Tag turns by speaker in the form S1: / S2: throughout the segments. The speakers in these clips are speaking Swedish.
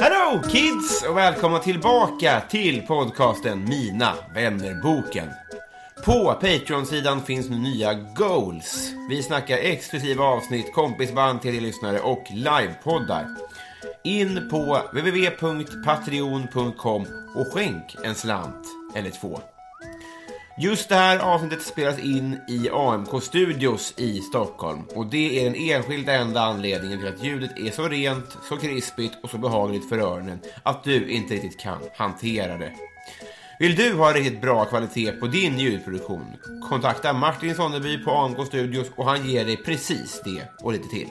S1: Hello kids och välkomna tillbaka till podcasten Mina vännerboken. På Patreon-sidan finns nu nya goals. Vi snackar exklusiva avsnitt, kompisband till er lyssnare och livepoddar. In på www.patreon.com och skänk en slant eller två. Just det här avsnittet spelas in i AMK Studios i Stockholm och det är den enskilt enda anledningen till att ljudet är så rent, så krispigt och så behagligt för öronen att du inte riktigt kan hantera det. Vill du ha riktigt bra kvalitet på din ljudproduktion? Kontakta Martin Sonneby på AMK Studios och han ger dig precis det och lite till.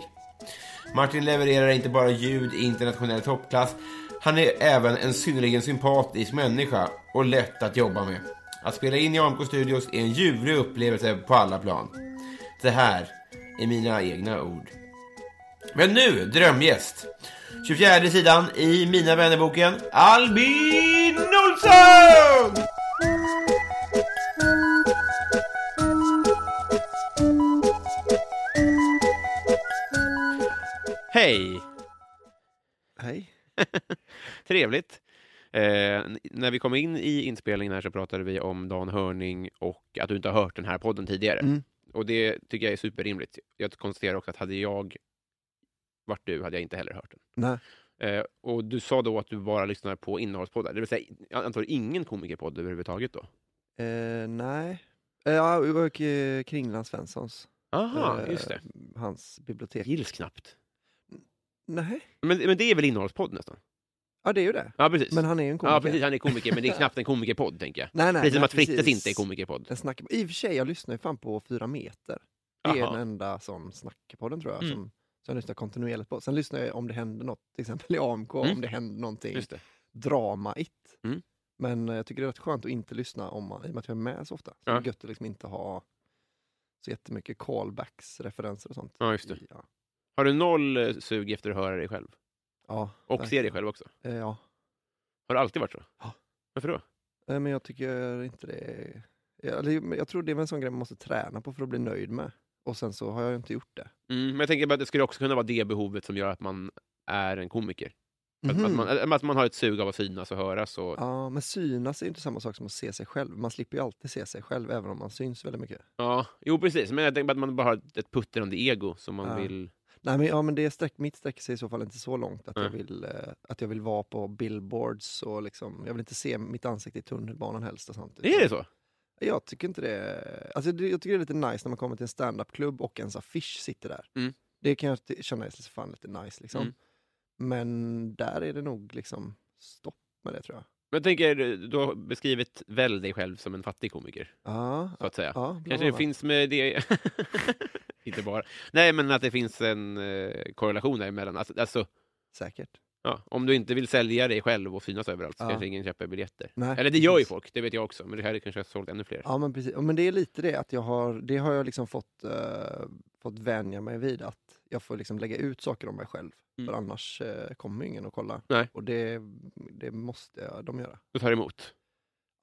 S1: Martin levererar inte bara ljud i internationell toppklass, han är även en synnerligen sympatisk människa och lätt att jobba med. Att spela in i AMK Studios är en ljuvlig upplevelse på alla plan. Det här är mina egna ord. Men nu, drömgäst! 24 sidan i Mina vännerboken, Albin Olsson!
S2: Hej!
S3: Hej.
S2: Trevligt. Eh, n- när vi kom in i inspelningen här så pratade vi om Dan Hörning och att du inte har hört den här podden tidigare.
S3: Mm.
S2: Och det tycker jag är superrimligt. Jag konstaterar också att hade jag varit du hade jag inte heller hört den.
S3: Nej.
S2: Eh, och du sa då att du bara lyssnar på innehållspoddar, det vill säga jag antar ingen komikerpodd överhuvudtaget då?
S3: Eh, nej. Eh, ja, och eh, Kringland Svenssons.
S2: Aha,
S3: eh,
S2: just det.
S3: Hans bibliotek.
S2: Gills knappt.
S3: Nej,
S2: Men, men det är väl innehållspodd nästan?
S3: ja det är ju det.
S2: Ja, precis.
S3: Men han är ju en komiker.
S2: Ja, precis. Han är komiker, men det är knappt en komikerpodd, tänker jag.
S3: Nej, nej,
S2: Precis som
S3: nej,
S2: att Frittes
S3: precis.
S2: inte är komikerpodd.
S3: Den snackar... I och för sig, jag lyssnar ju fan på Fyra meter. Det är
S2: Jaha.
S3: den enda sån snackpodden tror jag,
S2: Mm.
S3: som, som jag lyssnar kontinuerligt på. Sen lyssnar jag om det händer något, till exempel i AMK,
S2: Mm.
S3: om det händer någonting
S2: Just det.
S3: dramaigt.
S2: Mm.
S3: Men eh, jag tycker det är rätt skönt att inte lyssna om, i och med att jag är med så ofta. Så
S2: Ja.
S3: det är gött att liksom inte ha så jättemycket callbacks, referenser och sånt.
S2: Ja, just det.
S3: i- Ja.
S2: Har du noll eh, sug efter att höra dig själv?
S3: Ja,
S2: Och
S3: verkligen.
S2: se dig själv också?
S3: Eh, Ja,
S2: Har det alltid varit så?
S3: Ja.
S2: Varför då?
S3: Eh, men jag tycker inte det är... Ja, eller, men Jag tror det är en sån grej man måste träna på för att bli nöjd med. Och sen så har jag ju inte gjort det.
S2: Mm, men jag tänker bara att det skulle också kunna vara det behovet som gör att man är en komiker. Att, att,
S3: Mhm.
S2: man, äh, att man har ett sug av att synas och höras. Och, ja.
S3: Ja, men synas är ju inte samma sak som att se sig själv. Man slipper ju alltid se sig själv, även om man syns väldigt mycket.
S2: Jo, precis. Men jag tänker bara att man bara har ett puttrande ego som man
S3: Ja.
S2: vill...
S3: Nej, men, ja, men det sträck, mitt sträcker sig i så fall inte så långt att, jag
S2: Nej.
S3: vill, eh, att jag vill vara på billboards och liksom, jag vill inte se mitt ansikte i tunnelbanan helst och sånt.
S2: Är det så?
S3: Jag tycker inte det. Alltså, det- jag tycker det är lite nice när man kommer till en standup-klubb och ens affisch sitter där.
S2: Mm.
S3: Det kan jag ty- känna är så fan lite nice liksom.
S2: Mm.
S3: Men där är det nog liksom stopp med det tror jag.
S2: Men jag tänker, du har beskrivit väl dig själv som en fattig komiker,
S3: Ja,
S2: så att säga.
S3: ja, bland
S2: Kanske det
S3: annat.
S2: finns med det... inte bara. Nej, men att det finns en eh, korrelation däremellan. Alltså, alltså,
S3: Säkert.
S2: ja, om du inte vill sälja dig själv och synas överallt så
S3: Ja.
S2: kanske ingen köper biljetter.
S3: Nej,
S2: Eller det gör ju
S3: precis.
S2: folk, det vet jag också. Men det här kanske har sålt ännu fler.
S3: Ja, men precis. Ja, Men det är lite det att jag har, det har jag liksom fått, eh, fått vänja mig vid att jag får liksom lägga ut saker om mig själv.
S2: Mm.
S3: För annars eh, kommer ju ingen att kolla.
S2: Nej.
S3: Och det, det måste jag, de göra.
S2: Du tar emot.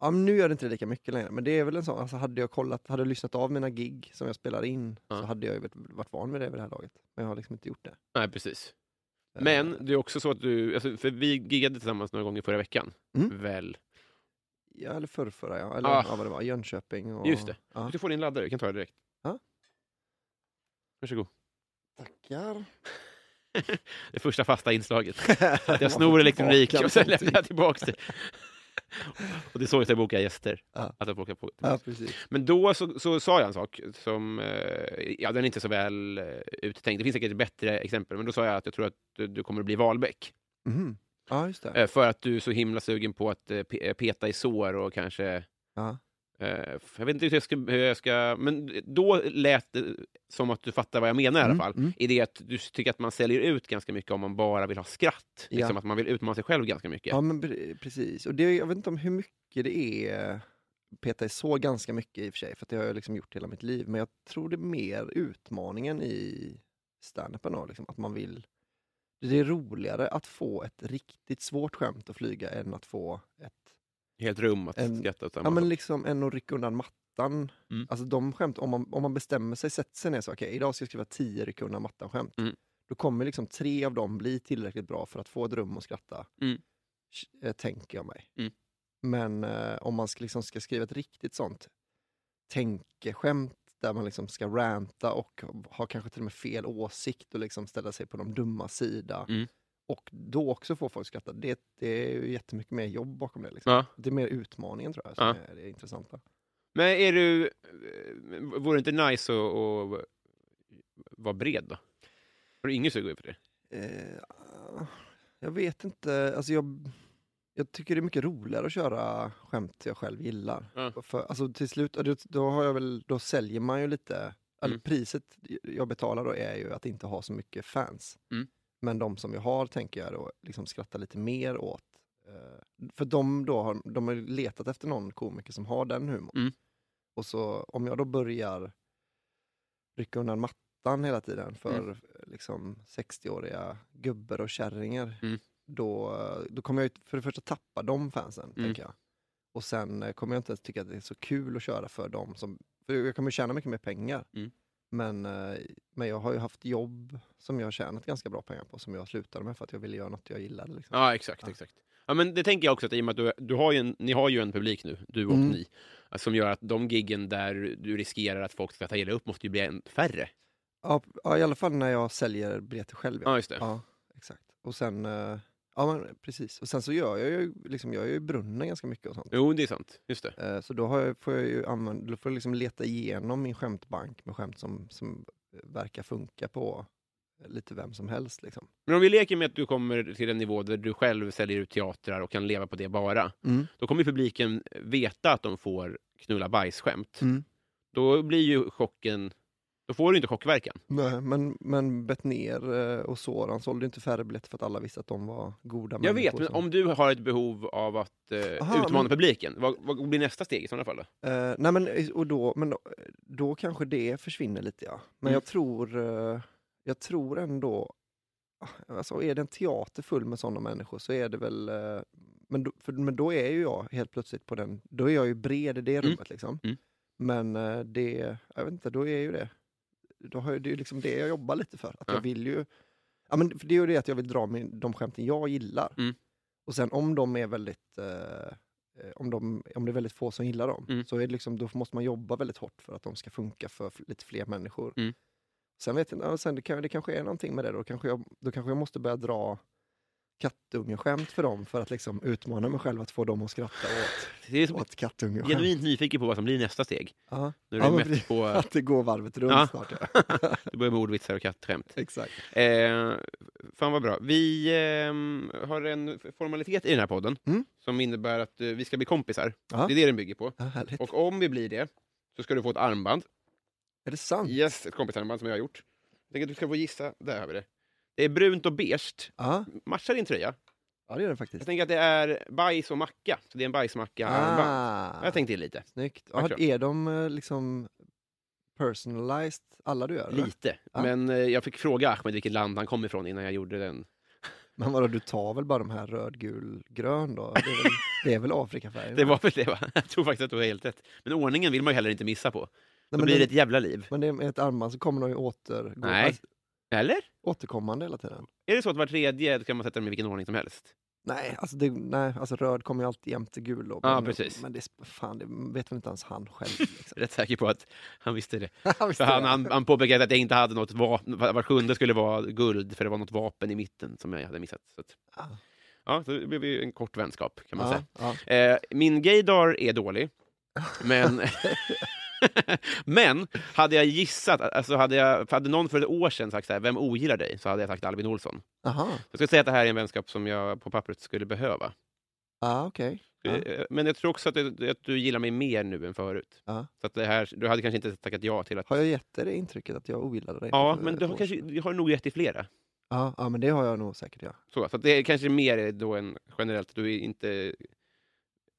S3: Ja, men nu gör det inte lika mycket längre, men det är väl en sån, alltså hade jag kollat, hade jag lyssnat av mina gig som jag spelar in
S2: Ja.
S3: så hade jag ju varit- varit van vid det vid det här laget. Men jag har liksom inte gjort det.
S2: Nej, precis.
S3: Eh,
S2: Men det är också så att du... Alltså, för vi giggade tillsammans några gånger förra veckan.
S3: Mm.
S2: Väl?
S3: Ja, eller förrförra ja, eller
S2: Ah.
S3: ja, vad det var, Jönköping och...
S2: Just det.
S3: Ja.
S2: Du får din laddare, vi kan ta det direkt.
S3: Ja.
S2: Varsågod.
S3: Tackar.
S2: Det första fasta inslaget. Att jag snor elektronik och sen lämnar jag tillbaka det. Och det är så jag ska boka gäster.
S3: Ja.
S2: Att jag boka på.
S3: Ja, precis.
S2: Men då så, så sa jag en sak som, eh, ja den är inte så väl eh, uttänkt. Det finns säkert ett bättre exempel, men då sa jag att jag tror att du, du kommer att bli Wahlbeck.
S3: Mhm. Ja, just det.
S2: Eh, för att du är så himla sugen på att eh, pe- peta i sår och kanske...
S3: Ja.
S2: Eh, f- jag vet inte hur jag, ska, hur jag ska... Men då lät det som att du fattar vad jag menar i
S3: Mm,
S2: alla fall.
S3: mm.
S2: I det att du tycker att man säljer ut ganska mycket om man bara vill ha skratt.
S3: Ja.
S2: Liksom att man vill utmana sig själv ganska mycket.
S3: Ja, men pre- precis. Och det, jag vet inte om hur mycket det är peta i så ganska mycket i och för sig, för att det har jag liksom gjort hela mitt liv. Men jag tror det är mer utmaningen i standupen då, liksom, att man vill... Det är roligare att få ett riktigt svårt skämt att flyga än att få ett...
S2: Helt rum att
S3: En-
S2: skratta åt. samma
S3: Ja, men
S2: sak.
S3: liksom än att rycka undan mattan.
S2: Mm.
S3: Alltså de skämt, om man, om man bestämmer sig, sätter sig ner så, okej, idag ska jag skriva tio rycka undan mattan-skämt.
S2: Mm.
S3: Då kommer liksom tre av dem bli tillräckligt bra för att få ett rum att skratta,
S2: Mm.
S3: eh, tänker jag mig.
S2: Mm.
S3: Men eh, om man ska, liksom, ska skriva ett riktigt sånt tänkeskämt där man liksom ska ranta och har kanske till och med fel åsikt och liksom ställa sig på de dumma sida.
S2: Mm.
S3: Och då också få folk att skratta. Det, det är ju jättemycket mer jobb bakom det. Liksom.
S2: Ja.
S3: Det är mer utmaningen tror jag som
S2: Ja.
S3: är det intressanta.
S2: Men är du... eh, Vore det inte nice att, att vara bred då? Har du ingen sug för det?
S3: Eh, jag vet inte, alltså jag, jag tycker det är mycket roligare att köra skämt jag själv gillar.
S2: Ja.
S3: För, alltså till slut, då, då, har jag väl, då säljer man ju lite, eller
S2: Mm.
S3: priset jag betalar då är ju att inte ha så mycket fans.
S2: Mm.
S3: Men de som jag har tänker jag då liksom skratta lite mer åt. Eh, För de, då har, de har ju letat efter någon komiker som har den humorn.
S2: Mm.
S3: Och så om jag då börjar rycka undan mattan hela tiden för
S2: Mm.
S3: liksom 60-åriga gubbar och kärringar,
S2: Mm.
S3: då, då kommer jag ju för det första tappa de fansen,
S2: Mm.
S3: tänker jag. Och sen eh, kommer jag inte ens tycka att det är så kul att köra för dem som, för jag kommer tjäna mycket mer pengar.
S2: Mm.
S3: Men, eh, men jag har ju haft jobb som jag har tjänat ganska bra pengar på som jag slutade med för att jag ville göra något jag gillade. Liksom.
S2: Ja, exakt.
S3: Ja.
S2: exakt. Ja, men det tänker jag också, att i och med att du, du har ju en, ni har ju en publik nu, du och
S3: Mm.
S2: ni, alltså, som gör att de giggen där du riskerar att folk ska ta illa upp måste ju bli en färre.
S3: Ja, ja, i alla fall när jag säljer biljetter själv.
S2: Ja, just det.
S3: Ja, exakt. Och sen, eh, ja men precis. Och sen så gör jag ju, liksom, jag är ju brunnen ganska mycket och sånt.
S2: Jo, det är sant. Just det.
S3: Eh, Så då har jag, får jag ju använda, då får jag liksom leta igenom min skämtbank med skämt som, som eh, verkar funka på eh, lite vem som helst. Liksom.
S2: Men om vi leker med att du kommer till en nivå där du själv säljer ut teatrar och kan leva på det bara, då kommer ju publiken veta att de får knulla bajsskämt.
S3: Mm.
S2: Då blir ju chocken... Då får du inte chockverkan.
S3: Nej, men, men Bettner eh, och Soran sålde ju inte färre biljetter för att alla visste att de var goda
S2: Jag vet, men
S3: människor som-
S2: om du har ett behov av att eh,
S3: Aha,
S2: utmana
S3: men-
S2: publiken, vad, vad blir nästa steg i sådana fall? Då?
S3: Eh, nej men, och då, men då, då kanske det försvinner lite ja. Men
S2: Mm.
S3: jag tror eh, jag tror ändå, alltså är det en teater full med sådana människor så är det väl, eh, men, då, för, men då är ju jag helt plötsligt på den, då är jag ju bred i det rummet liksom.
S2: Mm.
S3: Men eh, det, jag vet inte, då är ju det, då har, jag- det är ju liksom det jag jobbar lite för. Att
S2: Ja.
S3: jag vill ju, ja men för det är ju det att jag vill dra min, de skämten jag gillar.
S2: Mm.
S3: Och sen om de är väldigt eh, eh, om, de, om det är väldigt få som gillar dem,
S2: Mm.
S3: så är det liksom, då måste man jobba väldigt hårt för att de ska funka för f- lite fler människor.
S2: Mm.
S3: Sen vet jag inte, ja, sen det, kan, det kanske är någonting med det då. Kanske jag, då kanske jag måste börja dra kattungeskämt för dem för att liksom utmana mig själv att få dem att skratta åt,
S2: Det är som
S3: åt kattungeskämt.
S2: genuint nyfiken på vad som blir nästa steg.
S3: Ja.
S2: Nu är
S3: Ja,
S2: du
S3: men
S2: mätt på...
S3: Att det går varvet runt
S2: Ja.
S3: snart. Ja.
S2: Du börjar med ordvitsar och kattskämt.
S3: Exakt.
S2: Eh, fan vad bra. Vi ehm, har en formalitet i den här podden
S3: Mm.
S2: som innebär att eh, vi ska bli kompisar.
S3: Ja.
S2: Det är det den bygger på.
S3: Ja, härligt.
S2: Och om vi blir det så ska du få ett armband.
S3: är det sant?
S2: Yes, ett kompisarmband som jag har gjort. Jag tänker att du ska få gissa. Där har vi det. Det är brunt och beige.
S3: Ja.
S2: Matchar din tröja.
S3: ja, det är den
S2: Jag
S3: faktiskt.
S2: tänker att det är bajs och macka. Så det är en
S3: Ah.
S2: bajsmacka-armband. Jag tänkte lite.
S3: Snyggt.
S2: Tack
S3: Ja,
S2: så.
S3: är de eh, liksom personalized, alla du gör? eller?
S2: Lite.
S3: Ja.
S2: Men eh, jag fick fråga Ahmed vilket land han kom ifrån innan jag gjorde den.
S3: Men vadå, du tar väl bara de här röd, gul, grön då? Det är väl, det är väl Afrikafärgerna?
S2: Det var väl det va? Jag tror faktiskt att du har helt rätt. Men ordningen vill man ju heller inte missa på. Då
S3: Nej, men,
S2: blir det
S3: det,
S2: ett jävla liv.
S3: men det är med ett armband så kommer de ju återgå,
S2: Nej.
S3: alltså,
S2: Eller?
S3: återkommande hela tiden.
S2: Är det så att var tredje kan man sätta dem i vilken ordning som helst?
S3: Nej, alltså, det, nej, alltså röd kommer ju alltid jämt till gul. Då,
S2: Ja,
S3: men,
S2: precis.
S3: Men det, är sp- fan, det vet väl inte ens han själv. Liksom.
S2: Rätt säker på att han visste det.
S3: Han visste
S2: För han,
S3: det.
S2: han, han påpekade att jag inte hade något vapen. Var sjunde skulle vara guld, för det var något vapen i mitten som jag hade missat. Så att,
S3: Ah.
S2: ja, så det blev ju en kort vänskap, kan man
S3: ja,
S2: säga.
S3: ja.
S2: Eh, min gaydar är dålig, men... men hade jag gissat, alltså hade, jag, hade någon för ett år sedan sagt så här, vem ogillar dig? Så hade jag sagt Albin Olsson.
S3: Aha.
S2: Jag skulle säga att det här är en vänskap som jag på pappret skulle behöva.
S3: Ja, okej. Ja.
S2: Eh, Men jag tror också att, du- att du gillar mig mer nu än förut.
S3: Ja.
S2: Så att det här, du hade kanske inte tackat ja till att...
S3: Har jag gett dig det intrycket att jag ogillade dig?
S2: Ja,
S3: för
S2: men
S3: ett
S2: du har,
S3: år
S2: kanske,
S3: sedan?
S2: du har nog gett i flera.
S3: Ja, ja, men det har jag nog säkert, ja.
S2: Så, så att det är kanske mer då än generellt, att du är inte är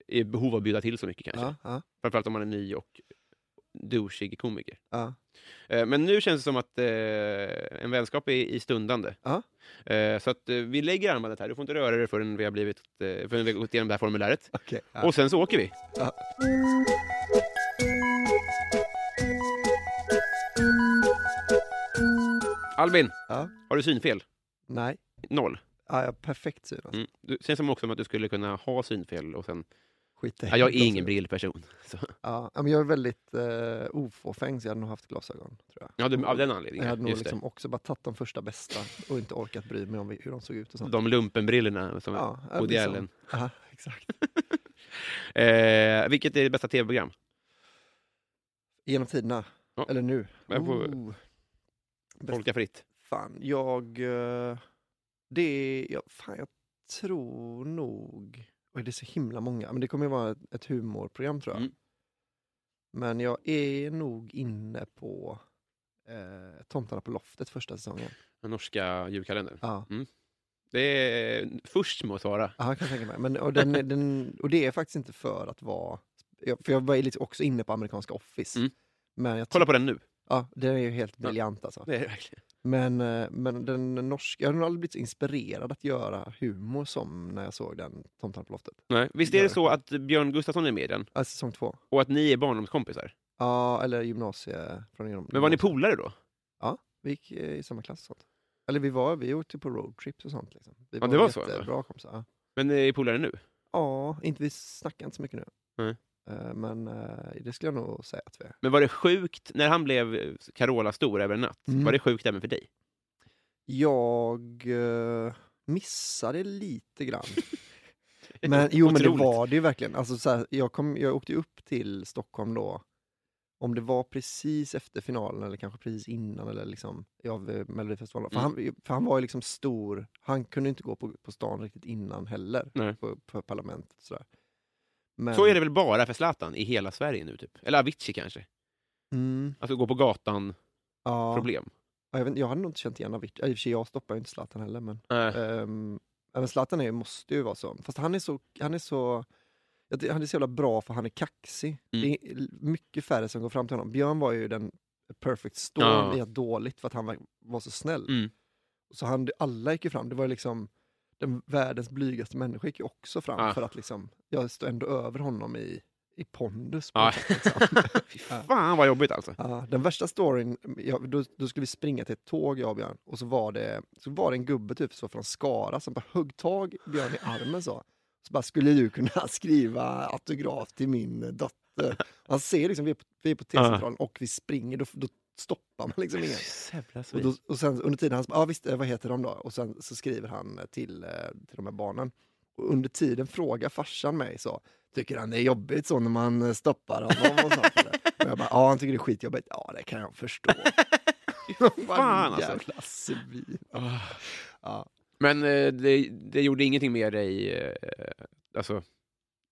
S2: i behov av att bjuda till så mycket kanske.
S3: Ja, ja,
S2: Framförallt om man är ny och douchig komiker.
S3: ja.
S2: Eh, Men nu känns det som att eh, en vänskap är i stundande.
S3: Ja.
S2: Eh, så att eh, vi lägger armandet här, du får inte röra dig förrän vi har, blivit, eh, förrän vi har gått igenom det här formuläret.
S3: Okej. ja.
S2: Och sen så åker vi.
S3: Ja.
S2: Albin,
S3: Ja.
S2: har du synfel?
S3: Nej.
S2: Noll.
S3: Ja, jag har perfekt syn. Alltså.
S2: Mm. Du, känns som också som att du skulle kunna ha synfel och sen...
S3: Skit i
S2: Ja, jag
S3: glasögon.
S2: är ingen brillperson. Så.
S3: Ja, ja, men jag är väldigt eh, ofåfäng, så jag hade nog haft glasögon, tror jag.
S2: Ja, du, av den
S3: Jag hade
S2: anledningen.
S3: nog
S2: Just
S3: liksom också bara tagit de första bästa och inte orkat bry mig om hur de såg ut och
S2: det.
S3: sånt.
S2: De lumpenbrillorna som
S3: ja, ja,
S2: Woody
S3: liksom.
S2: Allen.
S3: Ja, exakt.
S2: Eh, vilket är det bästa tv-program?
S3: Genom tiderna.
S2: Ja.
S3: Eller nu.
S2: Jag får-
S3: Oh. Bäst-
S2: Tolka fritt.
S3: Fan, jag... eh, Det är... Jag, fan, jag tror nog... Oj, det är så himla många. Men det kommer ju vara ett, ett humorprogram tror jag.
S2: Mm.
S3: Men jag är nog inne på eh, Tomtarna på loftet första säsongen.
S2: Den norska julkalendern.
S3: Ja,
S2: Det är först med att svara.
S3: ja jag kan tänka mig. Men, och, den, är- den, och det är faktiskt inte för att vara... jag- För jag var ju lite också inne på amerikanska Office.
S2: Mm.
S3: Men jag
S2: Kolla på den nu.
S3: Ja, den är ju helt briljant alltså.
S2: Det är det verkligen.
S3: Men, eh, men den norska, jag har nog aldrig blivit så inspirerad att göra humor som när jag såg den Tomtarna på loftet.
S2: Nej. Visst är det så att Björn Gustafsson är med i den
S3: Ja, säsong två.
S2: och att ni är barndomskompisar?
S3: Ja, eller gymnasie från genom.
S2: Men var ni polare då?
S3: Vi gick eh, i samma klass och sånt. Eller vi var, vi åkte på roadtrips och sånt. Liksom. Vi
S2: Ja, det var så,
S3: Bra kompisar. Ja.
S2: Men ni är polare nu?
S3: ja, inte, vi snackar inte så mycket nu.
S2: Nej.
S3: Eh, Men eh, det skulle jag nog säga att vi är.
S2: Men var det sjukt, när han blev eh, Carola stor över en natt,
S3: Mm.
S2: var det sjukt även för dig?
S3: Jag eh, missade lite grann. Men, jo, men det
S2: Otroligt.
S3: var det ju verkligen. Alltså, så här, jag, kom, jag åkte ju upp till Stockholm då, om det var precis efter finalen eller kanske precis innan eller liksom, av eh, Melodifestivalen. För,
S2: Mm.
S3: han, för han var ju liksom stor, han kunde inte gå på, på stan riktigt innan heller,
S2: Nej.
S3: på, på parlamentet. och Sådär. Men,
S2: Så är det väl bara för Zlatan i hela Sverige nu, typ? Eller Avicii kanske?
S3: Mm,
S2: Alltså gå på gatan-problem.
S3: ja, Ja, jag, vet, inte, jag hade nog inte känt igen Avicii. I och för sig, jag stoppar ju inte Zlatan heller. Men,
S2: Nej.
S3: ehm, ja, men Zlatan är, ju- måste ju vara så. Fast han är så... Han är så jag tycker han är så jävla bra för han är kaxig.
S2: Mm.
S3: Det är l- mycket färre som går fram till honom. Björn var ju den perfect storm
S2: Ja.
S3: i att dåligt för att han var, var så snäll.
S2: Mm.
S3: Så han, alla gick ju fram. Det var ju liksom... Den världens blygaste människa gick ju också fram
S2: Ja.
S3: för att liksom, jag står ändå över honom i, i pondus. på
S2: Ja.
S3: något sätt, liksom.
S2: Fy fan vad jobbigt alltså.
S3: Ja, den värsta storyn, ja, då, då skulle vi springa till ett tåg jag och Björn och så var det, så var det en gubbe typ så från Skara som bara högg tag Björn i armen så. Så bara, skulle du kunna skriva autograf till min dotter? Han ser liksom, vi är på, vi är på T-centralen och vi springer, då, då stoppar man liksom ingen.
S2: Jävla
S3: Och,
S2: svin.
S3: då, och sen under tiden, han ja ah, visst, eh, vad heter de då? Och sen så skriver han eh, till, eh, till de här barnen. Och under tiden frågar farsan mig så, tycker han det är jobbigt så när man eh, stoppar honom och sånt eller? Och jag bara, ja han tycker det är skitjobbigt. Ja det kan jag förstå.
S2: Fan, alltså.
S3: Jävla svin.
S2: Ah.
S3: Ja.
S2: Men eh, det, det gjorde ingenting med dig, eh, alltså,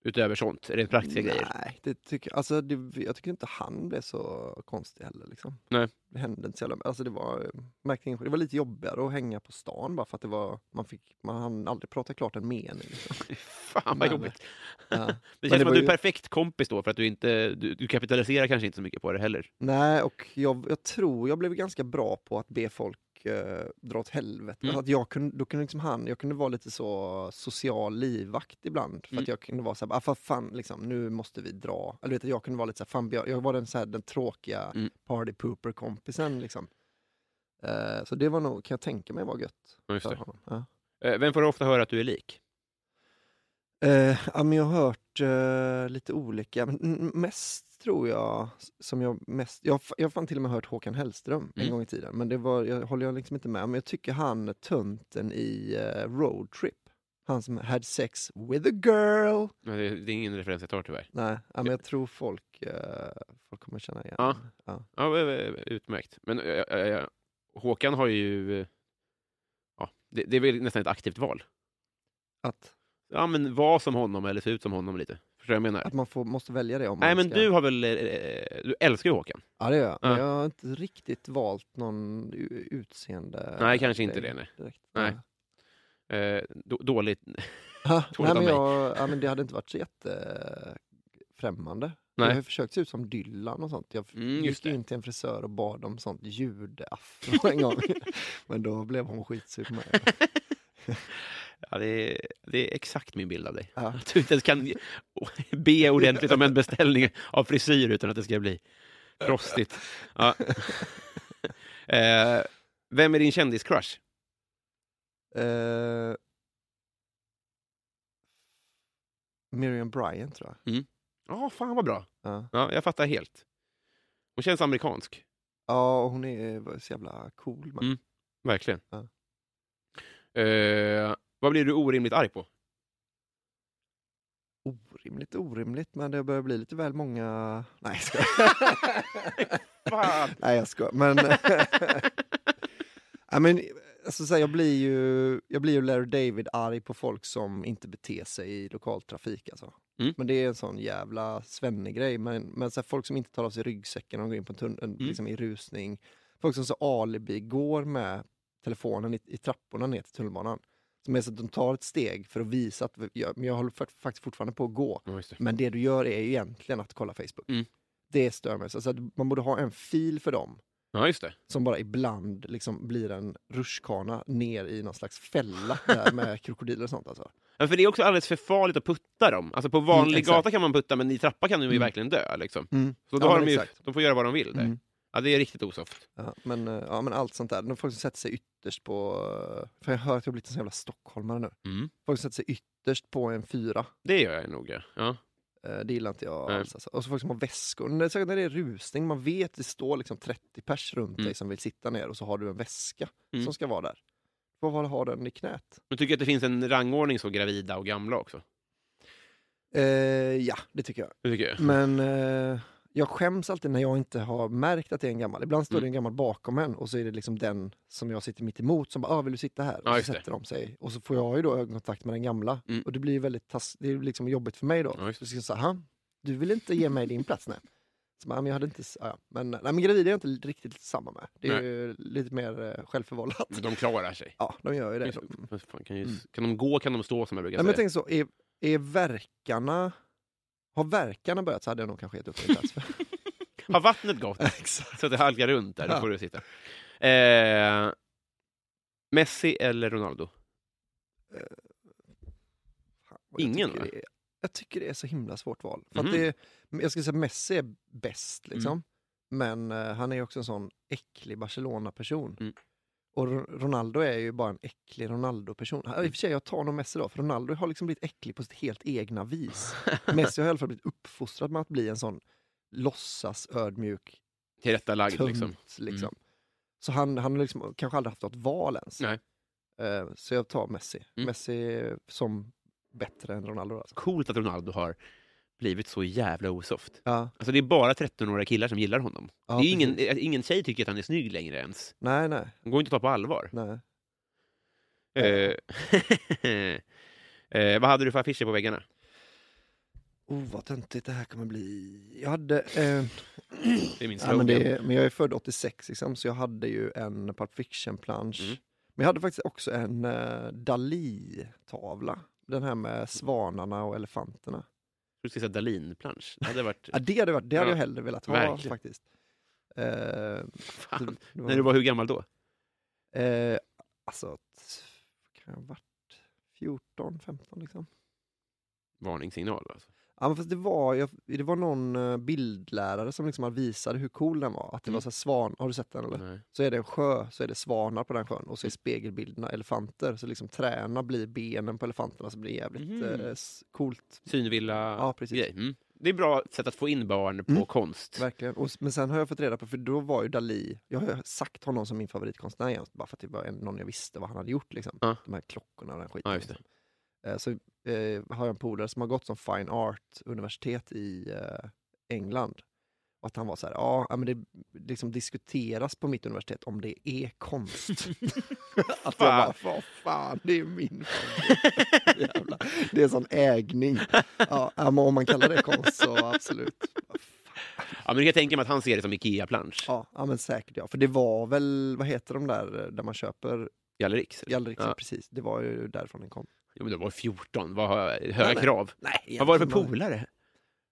S2: utöver sånt, rent praktiska grejer?
S3: Nej, det tycker, alltså, det, jag tycker inte han blev så konstig heller. Liksom.
S2: Nej.
S3: Det hände inte så jävla, alltså, det, var, märkte ingen, det var lite jobbigare att hänga på stan bara för att det var, man, fick, man hann aldrig prata klart en mening. Liksom.
S2: Fan vad
S3: Men-
S2: jobbigt.
S3: Ja.
S2: Det
S3: det
S2: känns som
S3: var
S2: att du
S3: ju-
S2: är perfekt kompis då, för att du inte, du, du kapitaliserar kanske inte så mycket på det heller.
S3: Nej, och jag, jag tror jag blev ganska bra på att be folk eh, dra åt helvete.
S2: Mm.
S3: Alltså att jag, kunde, då kunde liksom han, jag kunde vara lite så social livvakt ibland. För
S2: Mm.
S3: att jag kunde vara så här, ah, för fan, liksom, nu måste vi dra. Eller du vet, jag kunde vara lite så här, fan, jag, jag var den, så här, den tråkiga
S2: Mm.
S3: party pooper-kompisen. Liksom. Eh, så det var nog, kan jag tänka mig, var gött
S2: Ja, Just
S3: för
S2: det.
S3: honom. Ja.
S2: Eh, Vem får ofta höra att du är lik?
S3: Eh, ja, men jag har hört eh, lite olika, men mm, mest tror jag som jag mest... Jag har f- jag har fan till och med hört Håkan Hellström en
S2: Mm.
S3: gång i tiden, men det var, jag, håller jag liksom inte med om. Men jag tycker han tönten i eh, Road Trip, han som had sex with a girl.
S2: Men det, det är ingen referens jag tar tyvärr.
S3: Nej, ja, men jag tror folk, eh, folk kommer känna igen
S2: Ja.
S3: Ja.
S2: Ja, eh, eh, utmärkt. Men eh, eh, eh, Håkan har ju... eh, Ja, det, det är väl nästan ett aktivt val.
S3: Att,
S2: Ja, men var som honom eller se ut som honom lite. Förstår du vad jag menar?
S3: att man får, måste välja det om
S2: Nej,
S3: man
S2: men
S3: ska...
S2: du har väl... eh, eh, Du älskar ju Håkan.
S3: Ja, det gör jag. Men
S2: Ja.
S3: jag har inte riktigt valt någon u- utseende...
S2: Nej, kanske inte
S3: grej
S2: det, nej.
S3: Direkt.
S2: Nej. Eh, då, dåligt.
S3: Ja,
S2: Tråkigt av
S3: nej, men
S2: mig.
S3: jag, ja, men det hade inte varit så jättefrämmande. Jag har
S2: Nej.
S3: ju försökt se ut som Dylan och sånt. Jag f-
S2: Mm, just
S3: gick ju
S2: det.
S3: in till en frisör och bad om sånt ljudafro en gång. Men då blev hon skitsur på mig.
S2: Ja, det, är, det är exakt min bild av dig.
S3: Ja.
S2: Att du inte ens kan be ordentligt om en beställning av frisyr utan att det ska bli frostigt. Ja. Eh, vem är din kändiscrush?
S3: Eh, Miriam Bryant tror jag.
S2: Ja, fan vad bra.
S3: Ja.
S2: Ja, jag fattar helt. Hon känns amerikansk,
S3: Ja, och hon är så jävla cool. Man.
S2: Mm. verkligen.
S3: Ja.
S2: Eh, vad blir du orimligt arg på?
S3: Orimligt, orimligt, men det börjar bli lite väl många... Nej, jag skojar.
S2: Fan.
S3: Nej, jag skojar. Men... ja, men alltså, så här, jag blir ju, jag blir ju Larry David arg på folk som inte beter sig i lokaltrafik. Alltså.
S2: Mm.
S3: Men det är en sån jävla svennegrej. Men, men så här, folk som inte tar av sig ryggsäcken när de går in på en tunnel, liksom i rusning. Folk som så alibi går med telefonen i, i trapporna ner till tunnelbanan. Som är så att de tar ett steg för att visa att vi- jag, men jag håller fort- faktiskt fortfarande på att gå.
S2: Ja, just det.
S3: Men det du gör är ju egentligen att kolla Facebook.
S2: Mm.
S3: Det stör mig. Så alltså, att man borde ha en fil för dem
S2: Ja, just det.
S3: som bara ibland liksom blir en rutschkana ner i någon slags fälla där med krokodiler och sånt. Alltså.
S2: Ja, för det är också alldeles för farligt att putta dem. Alltså på vanlig
S3: Mm, exakt.
S2: gata kan man putta, men i trappa kan de ju verkligen dö. Liksom.
S3: Mm.
S2: Så då
S3: Ja,
S2: har
S3: men
S2: de, ju,
S3: exakt.
S2: de får göra vad de vill där.
S3: Mm.
S2: Ja, det är riktigt osoft.
S3: Ja, men, eh, ja, men allt sånt där. De folk som sätter sig ytterst på... eh, För jag hör att jag har blivit en sån jävla stockholmare nu.
S2: Mm.
S3: Folk som sätter sig ytterst på en fyra.
S2: Det gör jag nog, ja. ja.
S3: eh, Det gillar inte jag
S2: Nej.
S3: alls. Alltså. Och så folk som har väskor. När särskilt när det är rusning, man vet det står liksom 30 pers runt
S2: Mm.
S3: dig som vill sitta ner och så har du en väska
S2: Mm.
S3: som ska vara där. Vad var ha den i knät?
S2: Men tycker jag att det finns en rangordning så gravida och gamla också.
S3: Eh, ja, det tycker jag.
S2: Det tycker jag.
S3: Men eh, jag skäms alltid när jag inte har märkt att det är en gammal. Ibland står
S2: Mm.
S3: det en gammal bakom en och så är det liksom den som jag sitter mitt emot som bara ah, “vill du sitta här?”
S2: Ja,
S3: och
S2: just
S3: så
S2: det.
S3: sätter de sig. Och så får jag ju då ögonkontakt med den gamla.
S2: Mm.
S3: Och det blir ju väldigt tass- det är ju liksom jobbigt för mig då.
S2: Ja, just det.
S3: så ska jag säga “Aha, du vill inte ge mig din plats?” Nej. Så, bara, "Ah, men jag hade inte... s- ah, ja. men, nej, men gravid är jag inte riktigt samma med. Det är
S2: Nej. Mm.
S3: ju lite mer eh, självförvållat.
S2: Men De klarar sig.
S3: Ja, de gör ju det.
S2: Men så- men fan, Kan, ju, kan de gå kan de stå som jag brukar
S3: Nej, men jag
S2: säga.
S3: tänker så, är, är verkarna... Har verkarna börjat så hade jag nog kanske gett upp min plats. För.
S2: Har vattnet gått
S3: Exakt.
S2: så att det halkar runt där, då
S3: Ja.
S2: får du sitta. Eh, Messi eller Ronaldo?
S3: Och jag
S2: Ingen,
S3: tycker
S2: va?
S3: det är- Jag tycker det är så himla svårt val. För
S2: Mhm. Mm.
S3: att det är, men jag skulle säga Messi är bäst, liksom. men eh, han är ju också en sån äcklig Barcelona-person.
S2: Mm.
S3: Och Ro- Ronaldo är ju bara en äcklig Ronaldo-person. Ja, I och för sig, jag tar nog Messi då, för Ronaldo har liksom blivit äcklig på sitt helt egna vis. Messi har i alla fall blivit uppfostrad med att bli en sån låtsas ödmjuk
S2: Tillrättalagd
S3: tunt.
S2: liksom.
S3: Liksom. Så han, han har liksom kanske aldrig haft något val ens.
S2: Nej.
S3: Eh, så jag tar Messi.
S2: Mm.
S3: Messi som bättre än Ronaldo. Alltså.
S2: Coolt att Ronaldo har blivit så jävla osoft.
S3: Ja.
S2: Alltså det är bara 13-åriga killar som gillar honom.
S3: Ja,
S2: det är ingen, eh,
S3: precis.
S2: ingen tjej tycker att han är snygg längre ens.
S3: Nej, nej.
S2: De går inte att ta på allvar.
S3: nej.
S2: Eh, eh, vad hade du för affischer på väggarna?
S3: Oh, vad töntigt det här kommer bli. Jag hade... Eh,
S2: Det är min
S3: ja,
S2: slogan.
S3: men, det, men jag är född 86, liksom, så jag hade ju en Pulp Fiction-plansch.
S2: Mm.
S3: Men jag hade faktiskt också en eh, Dali-tavla. Den här med svanarna och elefanterna.
S2: Du skulle säga Dahlin-plansch. Det hade varit...
S3: Ja, det hade, varit, det hade
S2: Ja,
S3: jag hellre velat ha
S2: verkligen.
S3: faktiskt. Eh, det-
S2: Fan.
S3: det
S2: När du var hur gammal då?
S3: Eh, alltså, t- kan jag ha varit 14, 15 liksom?
S2: Varningssignal alltså.
S3: Ja, men fast det var, jag, det var någon eh, bildlärare som liksom visade hur cool den var. Att det var så här svan, har du sett den eller?
S2: Nej.
S3: Så är det en sjö, så är det svanar på den sjön och så är spegelbilderna elefanter. Så liksom träna blir benen på elefanterna så blir det jävligt
S2: Mhm.
S3: eh, s- coolt.
S2: Synvilla
S3: Ja, precis.
S2: grej. Mm. Det är bra sätt att få in barn på
S3: Mm.
S2: konst.
S3: Verkligen. Och, s- men sen har jag fått reda på, för då var ju Dali, jag har ju sagt honom som min favoritkonstnär igen, bara för att det var en, någon jag visste vad han hade gjort. Liksom.
S2: Ja.
S3: De här klockorna och den skiten.
S2: Ja, just det.
S3: liksom. Eh, Så eh, har jag en polare som har gått som fine art-universitet i eh, England. Och att han var så här, ja, ja, men det liksom diskuteras på mitt universitet om det är konst. att jag bara, vad fan, det är min favorit." Jävla. Det är sån ägning. Ja, ja, men om man kallar det konst så absolut.
S2: Ja, men jag tänker mig att han ser det som Ikea-plansch.
S3: Ja, ja men säkert ja. För det var väl, vad heter de där eh, där man köper
S2: Galleriks. eller?
S3: galleriksar?
S2: Ja.
S3: Precis, det var ju därifrån den kom.
S2: Jo, men det var 14. Vad, har- höga
S3: Nej, nej.
S2: krav.
S3: Nej,
S2: Vad var det för polare?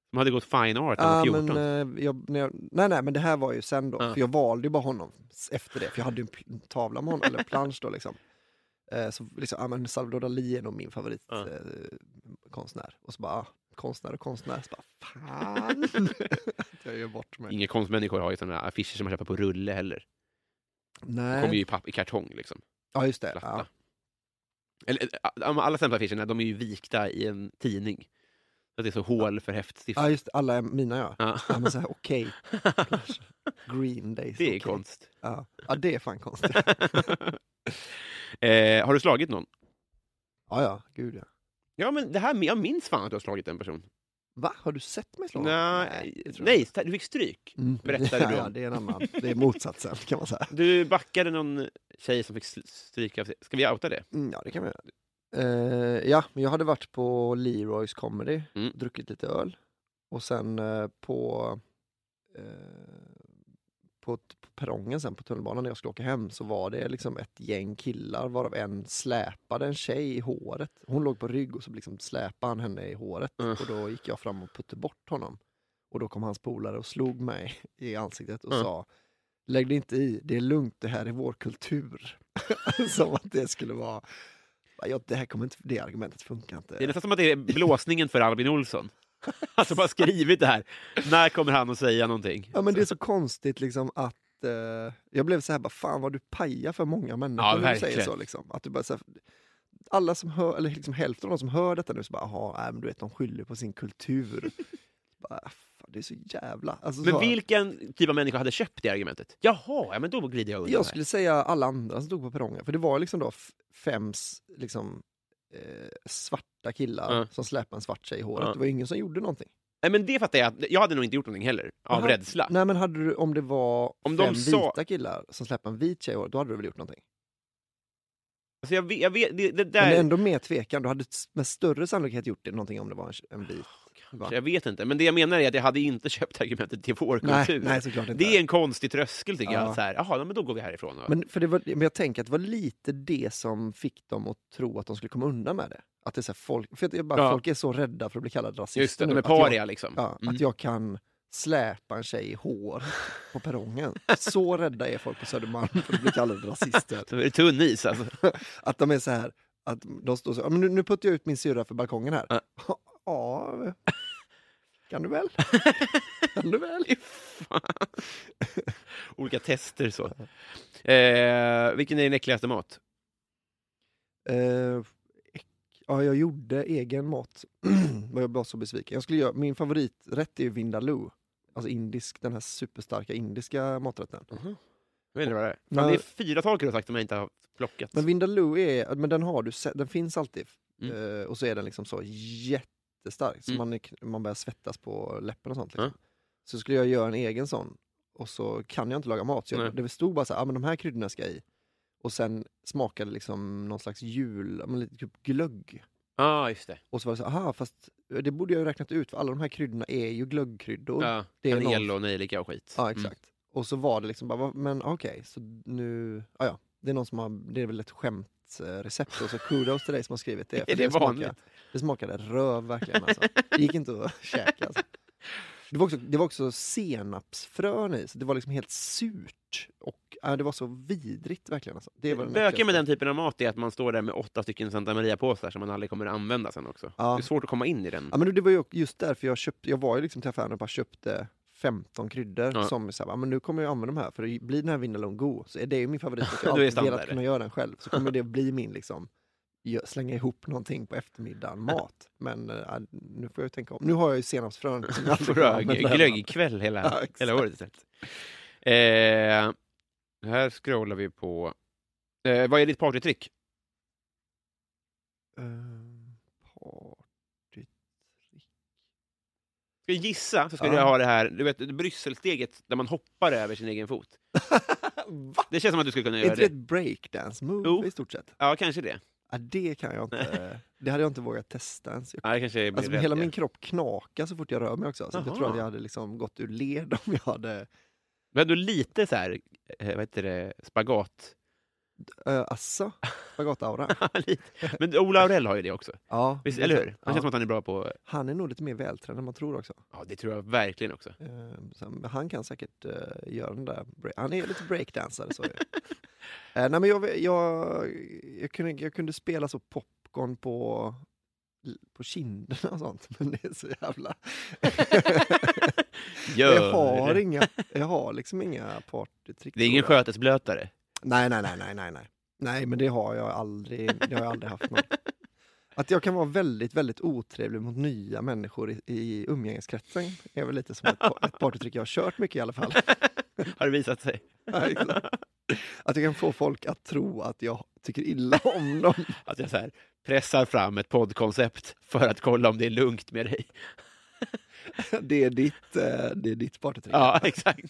S2: Som hade gått fine art när
S3: Ja,
S2: han var 14?
S3: men, eh, jag, när jag, nej, nej, men det här var ju sen då.
S2: Ja.
S3: För jag valde ju bara honom s- efter det. För jag hade ju en pl- tavla med honom, eller en plansch då liksom. Eh, så liksom, ja, men Salvador Dalí är nog min
S2: Ja.
S3: favoritkonstnär. Eh, konstnär. och så bara, ah, konstnär och konstnär. Så bara, fan! Att jag gör bort mig.
S2: Inga konstmänniskor har ju sådana affischer som man köper på rulle heller. De kommer ju
S3: Nej.
S2: i, papp, i kartong liksom.
S3: Ja, just det.
S2: Platta.
S3: Ja.
S2: Eller, eh, de alla sämsta affischerna de är ju vikta i en tidning. Så att det är så hål för häftstift.
S3: ja, just det. Alla är mina ja.
S2: Ja.
S3: Ja, men så här, okej. Green Days.
S2: Det är
S3: okej.
S2: konst.
S3: Ja. ja, det är fan konst.
S2: eh, har du slagit någon?
S3: Ja, ja. Gud ja.
S2: Ja, men det här, med- jag minns fan att du har slagit en person.
S3: Va? Har du sett mig slå?
S2: Nej,
S3: det tror jag
S2: nej, sta- du fick stryk.
S3: Mm.
S2: Berättade du om?
S3: ja, det är en annan. Det är motsatsen kan man säga.
S2: Du backade någon tjej som fick sl- stryk av sig. Ska vi outa det?
S3: Mm, ja, det kan man göra. Eh, ja, men jag hade varit på Leroys comedy,
S2: Mm.
S3: druckit lite öl och sen eh, på, eh, på, t- på perrongen sen på tunnelbanan när jag skulle åka hem så var det liksom ett gäng killar varav en släpade en tjej i håret. Hon låg på rygg och så liksom släpade han henne i håret
S2: Mm.
S3: och då gick jag fram och puttade bort honom. Och då kom hans polare och slog mig i ansiktet och
S2: Mm.
S3: sa Lägg dig inte i, det är lugnt, det här är vår kultur. Som att det skulle vara... Ja, det här kommer inte, det argumentet funkar inte.
S2: Det är nästan som att det är blåsningen för Albin Olsson. Alltså bara skrivit det här. När kommer han att säga någonting?
S3: Ja men det är så konstigt liksom att eh, jag blev så här bara fan vad du pajar för många människor
S2: Ja,
S3: när du säger
S2: verkligen.
S3: så liksom. Att du bara så här, alla som hör, eller liksom hälften av de som hör detta nu så bara jaha, nej, men du vet de skyller på sin kultur. bara, fan, det är så jävla... Alltså, så
S2: Men
S3: här,
S2: vilken typ av människa hade köpt det argumentet? Jaha, ja, men då glider jag undan.
S3: Jag
S2: här.
S3: skulle säga alla andra som stod på perrongen, för det var liksom då f- fem s- liksom, eh, svarta killar
S2: Ja.
S3: som släpade en svart tjej i håret.
S2: Ja.
S3: Det var ingen som gjorde någonting.
S2: Nej, men det fattar jag. att- Jag hade nog inte gjort någonting heller, av
S3: Jaha.
S2: rädsla.
S3: Nej men hade du, om det var
S2: Om de
S3: fem
S2: sa-
S3: vita killar som släpade en vit tjej i håret, då hade du väl gjort någonting?
S2: Alltså, jag vet, jag vet, det, det
S3: Men det
S2: där,
S3: är ändå mer tvekan. Du hade s- med större sannolikhet gjort det, någonting om det var en, en vit. Va?
S2: jag vet inte. Men det jag menar är att jag hade inte köpt argumentet till vår
S3: Nej,
S2: kultur.
S3: nej, såklart inte.
S2: det är en konstig tröskel, tycker jag.
S3: Ja.
S2: Så här, Jaha, nej, men då går vi härifrån. då."
S3: men, för det var, men jag tänker att det var lite det som fick dem att tro att de skulle komma undan med det. Att det är så här, folk, för att jag bara,
S2: Ja.
S3: folk är så rädda för att bli kallade rasister
S2: Just det,
S3: nu,
S2: de är
S3: att jag-
S2: paria liksom.
S3: Ja,
S2: Mm.
S3: Att jag kan släpa en tjej i hår på perrongen. Så rädda är folk på Södermalm för att bli kallade rasister.
S2: Så är det tunn is alltså.
S3: Att de är så här, att de står så här, "Ja, men nu, nu puttar jag ut min syrra för balkongen här.
S2: Ja.
S3: Ja, kan du väl? Kan du väl?
S2: Fan. Olika tester så. Eh, vilken är din äckligaste mat?
S3: Eh, äck- ja, jag gjorde egen mat. Var jag bara så besviken. Jag skulle göra, min favoriträtt är ju vindaloo. Alltså indisk, den här superstarka indiska maträtten.
S2: Jag vet inte vad det är.
S3: Nej.
S2: Fan, det är fyra tal kunde jag ha sagt om jag inte har plockat.
S3: Men Vindaloo är, men den har du sett, den finns alltid.
S2: Mm.
S3: Eh, och så är den liksom så jättestark, så
S2: Mm.
S3: man, är, kn- man börjar svettas på läppen och sånt. Liksom.
S2: Ja.
S3: Så skulle jag göra en egen sån, och så kan jag inte laga mat. Så
S2: Nej.
S3: jag, det stod bara så här, ah, men de här kryddorna ska i. Och sen smakade liksom någon slags jul, ja, men lite typ glögg.
S2: Ja, ah, just det.
S3: Och så var det så, aha, fast det borde jag ju räknat ut, för alla de här kryddorna är ju glöggkryddor.
S2: Ja,
S3: det är någon-
S2: kanel och nejlika och skit. Mm.
S3: Ja, exakt. Och så var det liksom bara, "Va, men okej, så nu, ja, ja, det är någon som har, det är väl ett skämtrecept och så kudos till dig som har skrivit det.
S2: Är det vanligt?
S3: smakade, det smakade röv verkligen alltså. Det gick inte att käka alltså. Det var också, det var också senapsfrön i, så det var liksom helt surt och ja, det var så vidrigt verkligen. Alltså. Det var den
S2: Böken med
S3: äckligaste.
S2: den typen av mat är att man står där med åtta stycken Santa Maria-påsar som man aldrig kommer att använda sen också.
S3: Ja.
S2: Det är svårt att komma in i den.
S3: Ja, men det var ju just därför jag köpte, jag var ju liksom till affären och bara köpte 15 kryddor
S2: Ja.
S3: som är så här, "Ja, men nu kommer jag använda de här för det blir den här vinmelon god så är det ju min favorit. Jag
S2: Du är
S3: har alltid
S2: standard.
S3: velat kunna göra den själv så kommer det bli min liksom gö- slänga ihop någonting på eftermiddagen mat. Men eh, ja, nu får jag ju tänka om. Nu har jag ju senapsfrön. som jag aldrig kommer
S2: Frög,
S3: använda.
S2: glöggkväll hela,
S3: Ja, exakt.
S2: hela året istället. Eh, här scrollar vi på... Eh, vad är ditt partytrick?
S3: Eh, party-
S2: Ska jag gissa så skulle
S3: Ja.
S2: jag ha det här du vet, Brysselsteget där man hoppar över sin egen fot.
S3: Va?
S2: Det känns som att du skulle kunna
S3: Är inte
S2: göra
S3: det
S2: det.
S3: ett breakdance-move
S2: Jo.
S3: i stort sett?
S2: Ja, kanske det.
S3: Ja, det kan jag inte. Det hade jag inte vågat testa ens. Jag
S2: Ja, det kanske blir
S3: Alltså,
S2: rätt,
S3: hela
S2: ja.
S3: min kropp knakar så fort jag rör mig också. Så att jag
S2: Jaha.
S3: tror att jag hade liksom gått ur led om jag hade
S2: Men ändå lite så här, eh, vad heter det, spagat.
S3: äh, assa, spagataura.
S2: Lite. Men Ola Aurell har ju det också.
S3: ja,
S2: Visst,
S3: det är
S2: eller hur?
S3: sant.
S2: Han
S3: Ja.
S2: känns som att han är bra på...
S3: Han är nog lite mer vältränad än man tror också.
S2: Ja, det tror jag verkligen också.
S3: Ehm, så han- han kan säkert eh, göra den där... Break. Han är lite breakdansare. Så är det. Eh, nej, men jag, jag, jag, kunde, jag kunde spela så popcorn på, på kinderna och sånt, men det är så jävla...
S2: Gör
S3: jag har
S2: det.
S3: inga, jag har liksom inga partytrick.
S2: Det är ingen
S3: tror jag.
S2: skötesblötare.
S3: Nej, nej, nej, nej, nej, nej. Nej, men det har jag aldrig, det har jag aldrig haft någon. Att jag kan vara väldigt, väldigt otrevlig mot nya människor i, i umgängeskretsen är väl lite som ett, par- ett partytrick jag har kört mycket i alla fall.
S2: Har det visat sig.
S3: Ja, exakt. Att jag kan få folk att tro att jag tycker illa om dem.
S2: Att jag så här pressar fram ett poddkoncept för att kolla om det är lugnt med dig.
S3: Det är ditt, eh, det är ditt partytrick.
S2: Ja, exakt.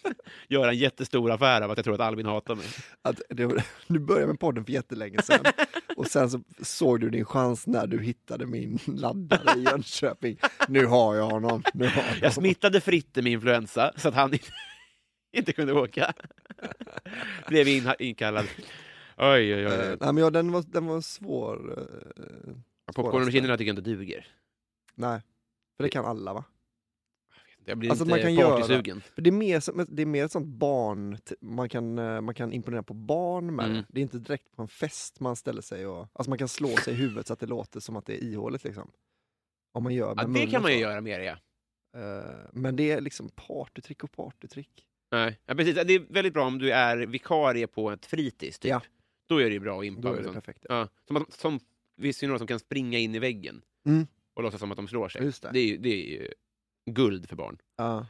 S2: Göra en jättestor affär av att jag tror att Albin hatar mig.
S3: Att det, du började med podden för jättelänge sedan och sen så såg du din chans när du hittade min laddare i Jönköping. Nu har jag honom. Nu har jag
S2: Jag
S3: honom.
S2: smittade Fritte med influensa så att han inte, inte kunde åka. Blev in, inkallad. Oj, oj,
S3: Eh,
S2: oj.
S3: nej, men ja, den, var, den var svår. eh,
S2: Popcorn med kinderna tycker jag inte duger.
S3: nej, för det kan alla va?
S2: Jag blir
S3: Alltså,
S2: inte
S3: man kan göra-
S2: partysugen.
S3: För det, är mer, som- det är mer ett sånt barn, t- man kan, eh, man kan imponera på barn med.
S2: Mm.
S3: det. Det är inte direkt på en fest man ställer sig och, alltså man kan slå sig i huvudet så att det låter som att det är ihåligt liksom. Om man gör med
S2: Ja, det
S3: munnen
S2: kan man ju
S3: så.
S2: göra mer, ja.
S3: Eh, men det är liksom partytrick och partytrick.
S2: Nej. ja precis. Det är väldigt bra om du är vikarie på ett fritids, typ.
S3: Ja.
S2: Då är det ju bra att impa.
S3: Då är
S2: och
S3: det
S2: sånt.
S3: perfekt.
S2: Ja. Som, att- som, visst är det några som kan springa in i väggen
S3: Mm.
S2: och låtsas som att de slår sig.
S3: Just det.
S2: Det, är, ju- det är ju guld för barn.
S3: Ja.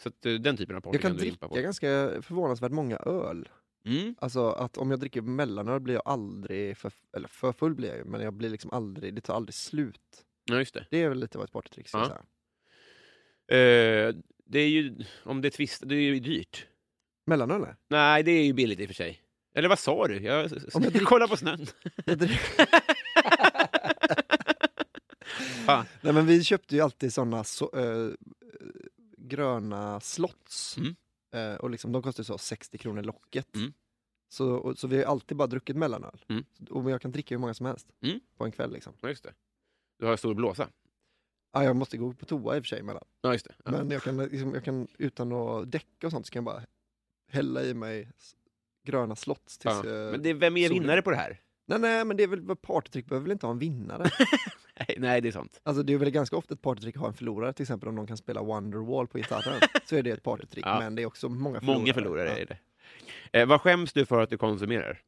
S2: Så att, eh, den typen av party
S3: jag
S2: du
S3: kan
S2: impa
S3: dricka
S2: på.
S3: ganska förvånansvärt många öl.
S2: Mm.
S3: Alltså att om jag dricker mellanöl blir jag aldrig för, eller för full blir jag ju, men jag blir liksom aldrig, det tar aldrig slut.
S2: Ja, just det.
S3: Det är väl lite vad ett partytrick ska
S2: Ja.
S3: jag säga.
S2: Eh, det är ju, om det är twist, det är ju dyrt.
S3: Mellanöl? nej.
S2: Nej, det är ju billigt i och för sig. Eller vad sa du? Jag,
S3: Om jag dricker-
S2: kolla på snön.
S3: Jag dricker-
S2: Fan.
S3: Nej men vi köpte ju alltid sådana så, eh, gröna slots.
S2: Mm.
S3: Eh, och liksom, de kostar ju så 60 kronor locket.
S2: Mm.
S3: Så, och, så vi har ju alltid bara druckit mellanöl.
S2: Mm.
S3: Och jag kan dricka hur många som helst
S2: Mm.
S3: på en kväll. Liksom.
S2: Ja, just det. Du har stor blåsa.
S3: Ja, jag måste gå på toa i och för sig emellan.
S2: Ja, just det. Ja.
S3: Men jag kan, liksom, jag kan utan att däcka och sånt så kan jag bara hälla i mig s- gröna slotts tills
S2: Ja.
S3: jag...
S2: Men det, vem är
S3: solen-
S2: vinnare på det här?
S3: Nej, nej, men det är väl vad partytrick behöver väl inte ha en vinnare?
S2: Nej, Nej, det är sant.
S3: alltså det är väl ganska ofta ett partytrick att ha en förlorare, till exempel om någon kan spela Wonderwall på gitarren, så är det ett partytrick,
S2: Ja.
S3: men det är också många förlorare.
S2: Många förlorare är det. Eh, vad skäms du för att du konsumerar?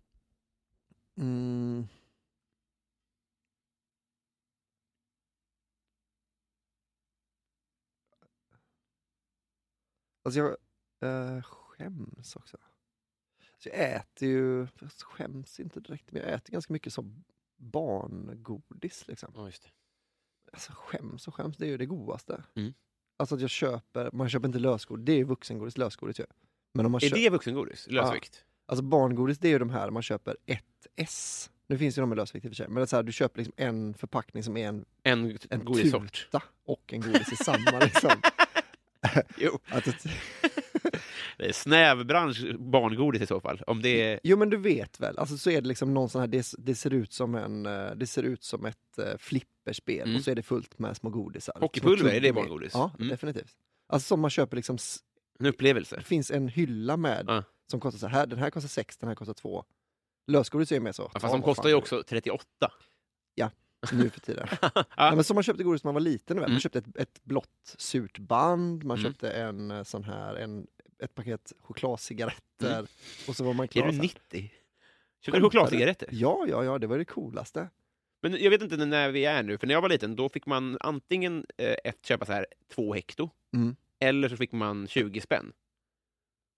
S3: Ja. Mm. Alltså jag eh, skäms också. Så jag äter ju, fast skäms inte direkt, men jag äter ganska mycket som barngodis liksom.
S2: Ja, just det.
S3: Alltså skäms och skäms, det är ju det godaste.
S2: Mm.
S3: Alltså att jag köper, man köper inte lösgodis, det är ju vuxengodis, lösgodis ju. Men om man
S2: Är
S3: köper,
S2: det vuxengodis? Lösvikt?
S3: alltså barngodis det är ju de här man köper ett S. Nu finns ju de med lösvikt i och för sig, men det är så här, du köper liksom en förpackning som är en,
S2: En,
S3: en
S2: godissort?
S3: tuta och en godis i samma liksom.
S2: Jo.
S3: Att ett,
S2: Det är snäv bransch barngodis i så fall. Om det är...
S3: jo men du vet väl, alltså så är det liksom någon sån här, det, det ser ut som en, eh, det ser ut som ett eh, flipperspel
S2: Mm.
S3: och så är det fullt med små godisar.
S2: Hockeypulver,
S3: Små
S2: är det
S3: tuggummi.
S2: barngodis?
S3: Ja,
S2: Mm.
S3: definitivt. Alltså som man köper liksom s-
S2: En upplevelse?
S3: finns en hylla med
S2: Ja.
S3: Som kostar så här, den här kostar 6, den här kostar 2. Lösgodis är ju mer så.
S2: Ja,
S3: "Ja,
S2: Fast de
S3: vad
S2: kostar
S3: fan,
S2: ju också 38.
S3: Nu för tiden.
S2: Ja.
S3: Nej, men som man köpte godis när man var liten. du vet. Man
S2: Mm.
S3: köpte ett, ett blått surt band, man
S2: Mm.
S3: köpte en eh, sån här, en, ett paket chokladcigaretter och så var man klar.
S2: Mm. Är du
S3: så här.
S2: 90? Köpte du chokladcigaretter?
S3: Ja, ja, ja, det var det coolaste.
S2: Men jag vet inte när vi är nu, för när jag var liten då fick man antingen eh, ett, köpa så här två hekto,
S3: Mm.
S2: eller så fick man 20 spänn.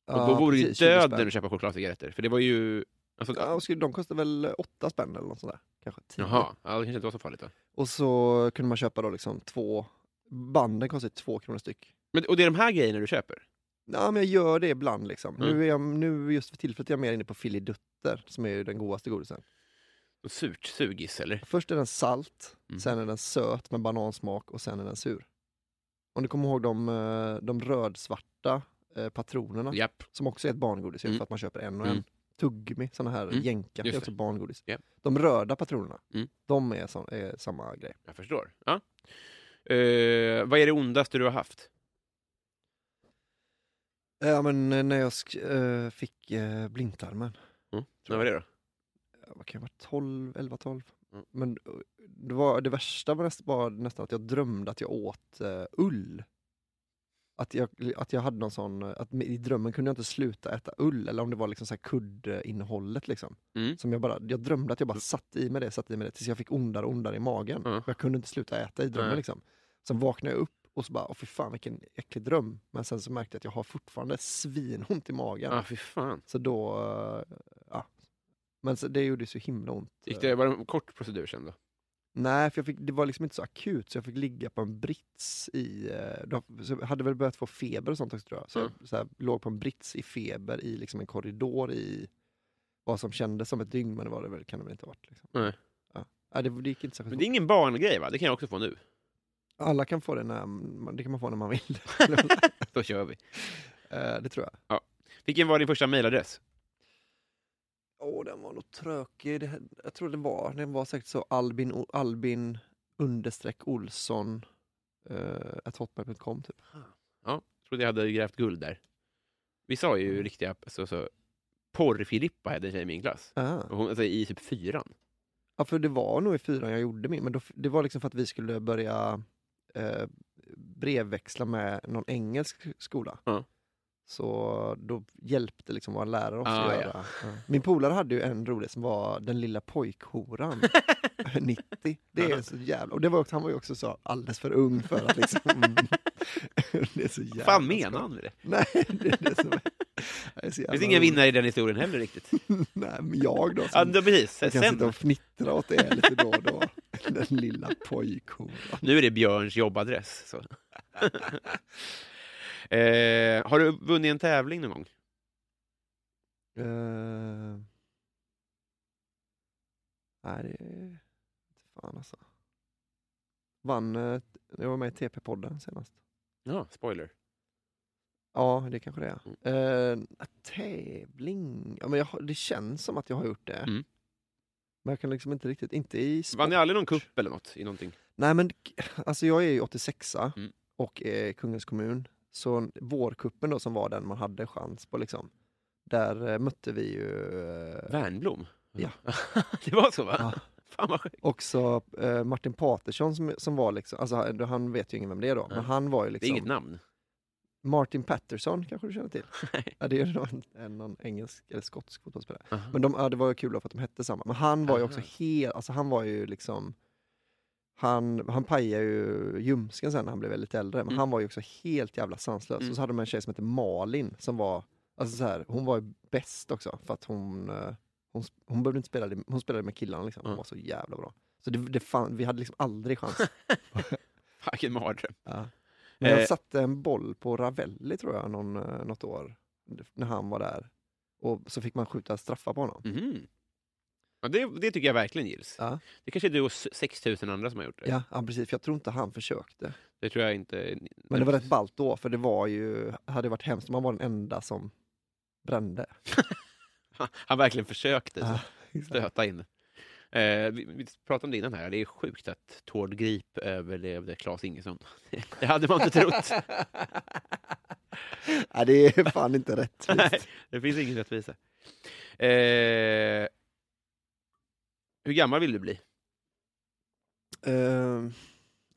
S2: Och
S3: Ja,
S2: då vore det ju
S3: precis, 20
S2: döden
S3: spänn.
S2: att köpa chokladcigaretter, för det var ju... Alltså,
S3: Ja, och skulle, de kostade väl åtta spänn eller något sånt där. Kanske tio.
S2: Jaha, ja, det kanske inte var så farligt då.
S3: Och så kunde man köpa då liksom två, banden kostade två kronor styck.
S2: Men, och det är de här grejerna du köper?
S3: Ja, men jag gör det ibland liksom.
S2: Mm.
S3: Nu, är jag, nu just för tillfället är jag mer inne på filidutter, som är ju den godaste godisen.
S2: Surt sugis, eller?
S3: Först är den salt,
S2: Mm.
S3: sen är den söt med banansmak och sen är den sur. Om du kommer ihåg de, eh, de rödsvarta eh, patronerna,
S2: Japp.
S3: som också är ett barngodis,
S2: Mm.
S3: för att man köper en och
S2: Mm.
S3: en. Tuggummi, såna här
S2: Mm,
S3: jänka, det
S2: just
S3: är också barngodis.
S2: Ja.
S3: De röda patronerna,
S2: Mm.
S3: de är, så, är samma grej.
S2: Jag förstår. Ja. Eh, vad är det ondaste du har haft?
S3: Eh, Ja, men eh, när jag sk- eh, fick eh, blindtarmen,
S2: När var det då?
S3: eh, vad kan jag vara, 12, 11, 12?
S2: Mm.
S3: Men eh, det, var, det värsta var nästan, var nästan att jag drömde att jag åt eh, ull. Att jag, att jag hade någon sån, eh, att i drömmen kunde jag inte sluta äta ull, eller om det var liksom så här kuddinnehållet liksom.
S2: Mm.
S3: Som jag, bara, jag drömde att jag bara satt i mig det, satt i mig det, tills jag fick ondare och ondare i magen.
S2: Mm.
S3: Och jag kunde inte sluta äta i drömmen
S2: Nej.
S3: liksom. Sen vaknade jag upp och så bara, åh fy fan vilken äcklig dröm. Men sen så märkte jag att jag har fortfarande svinont i magen.
S2: Ja, ah, fy fan.
S3: Så då, eh, ja. Men så, det gjorde ju så himla ont.
S2: Gick det, var det en kort procedur sen då?
S3: Nej, för jag fick, det var liksom inte så akut så jag fick ligga på en brits i, eh, då, så jag hade väl börjat få feber och sånt också tror jag. Så
S2: Mm.
S3: jag så här, låg på en brits i feber i liksom en korridor i vad som kändes som ett dygn, men det var det väl, kan det väl inte ha varit. Liksom.
S2: Nej.
S3: Ja. Ja, det, det gick inte särskilt
S2: Men det är ingen barngrej, va? Det kan jag också få nu.
S3: fort. Alla kan få det när, man- det kan man få när man vill.
S2: Då kör vi.
S3: Eh, det tror jag.
S2: Vilken var din första mejladress?
S3: Åh, den var nog trökig. Det, jag tror det var, den var säkert så Albin, Albin understreck Olsson eh, at hotmail.com typ.
S2: trodde jag hade grävt guld där. Vi sa
S3: Mm.
S2: ju riktiga, alltså, så, porr-Filippa hade en tjej i min klass.
S3: Ah.
S2: Och hon, alltså, I typ fyran.
S3: Ja, för det var nog i fyran jag gjorde min, men då, det var liksom för att vi skulle börja eh, brevväxla med någon engelsk skola.
S2: Ja.
S3: Så då hjälpte liksom våra lärare oss
S2: Ah,
S3: att
S2: ja.
S3: göra. Ja. Min polare hade ju en rolig som var Den lilla pojkhoran. 90. Det är så jävla... Och det var också, han var ju också så alldeles för ung för att liksom... det är så jävla...
S2: Vad fan menar han med det?
S3: Nej, det, det är så... Det är så
S2: Det
S3: jävla
S2: finns inga vinnare i den historien heller riktigt.
S3: Nej, men jag då.
S2: Ja,
S3: Som...
S2: då, precis.
S3: Jag kan
S2: Sen,
S3: sitta och fnittra åt det lite då och då. Den lilla pojkhoran.
S2: nu är det Björns jobbadress. Så. eh, har du vunnit en tävling någon gång?
S3: Uh... Nej, det är... Fan alltså. Vann... eh, Jag var med i TP-podden senast.
S2: Ja, spoiler.
S3: Ja, det kanske det är.
S2: Mm.
S3: Eh, tävling... Ja, men jag, har- det känns som att jag har gjort det.
S2: Mm.
S3: Men jag kan liksom inte riktigt... Inte i
S2: Vann
S3: sport.
S2: ni aldrig någon kupp eller något? I någonting?
S3: Nej, men k- alltså jag är ju 86a
S2: Mm.
S3: och eh, Kungens kommun. Så vårkuppen då som var den man hade chans på liksom. Där eh, mötte vi ju... eh,
S2: Värnblom?
S3: Ja.
S2: det var så, va?
S3: Ja.
S2: Fan vad sjukt.
S3: Också eh, Martin Patersson som, som var liksom, alltså han- han vet ju ingen vem det är då, men
S2: Nej.
S3: han var ju
S2: Det är
S3: liksom
S2: inget namn.
S3: Martin Patterson kanske du känner till?
S2: Nej.
S3: Ja, det är ju någon, en- någon engelsk eller skotsk fotbollsspelare.
S2: Aha.
S3: Men de, ja, det var ju kul för att de hette samma. Men han var ju också
S2: Mm. Aha.
S3: helt, alltså han var ju liksom han, han pajade ju ljumsken sen när han blev väldigt äldre, men
S2: Mm.
S3: han var ju också helt jävla sanslös.
S2: Mm.
S3: Och så hade de en tjej som hette Malin som var, alltså så här, hon var ju bäst också för att hon, eh, hon, sp- hon behövde inte spela, det- hon spelade med killarna liksom. Hon
S2: Mm.
S3: var så jävla bra. Så det, det fan, vi hade liksom aldrig chans.
S2: Fan, Vilken mardröm.
S3: Ja. Men jag
S2: Eh.
S3: satte en boll på Ravelli tror jag någon, eh, något år, när han var där. Och så fick man skjuta straffar på honom.
S2: Mhm. Ja, det, det tycker jag verkligen gills.
S3: Ja.
S2: Det kanske är du och s- 6 000 andra som har gjort det.
S3: Ja, ja, precis. För jag tror inte han försökte.
S2: Det tror jag inte...
S3: Men det var rätt ballt då, för det var ju, hade varit hemskt om man var den enda som brände.
S2: Han verkligen försökte
S3: Ja, exakt.
S2: stöta in. Eh, vi, vi pratade om det innan här, det är sjukt att Tord Grip överlevde Claes Ingesson. Det hade man inte trott.
S3: Nej, det är fan inte rätt.
S2: Nej, det finns ingen rättvisa. Eh, hur gammal vill du bli?
S3: Ehm,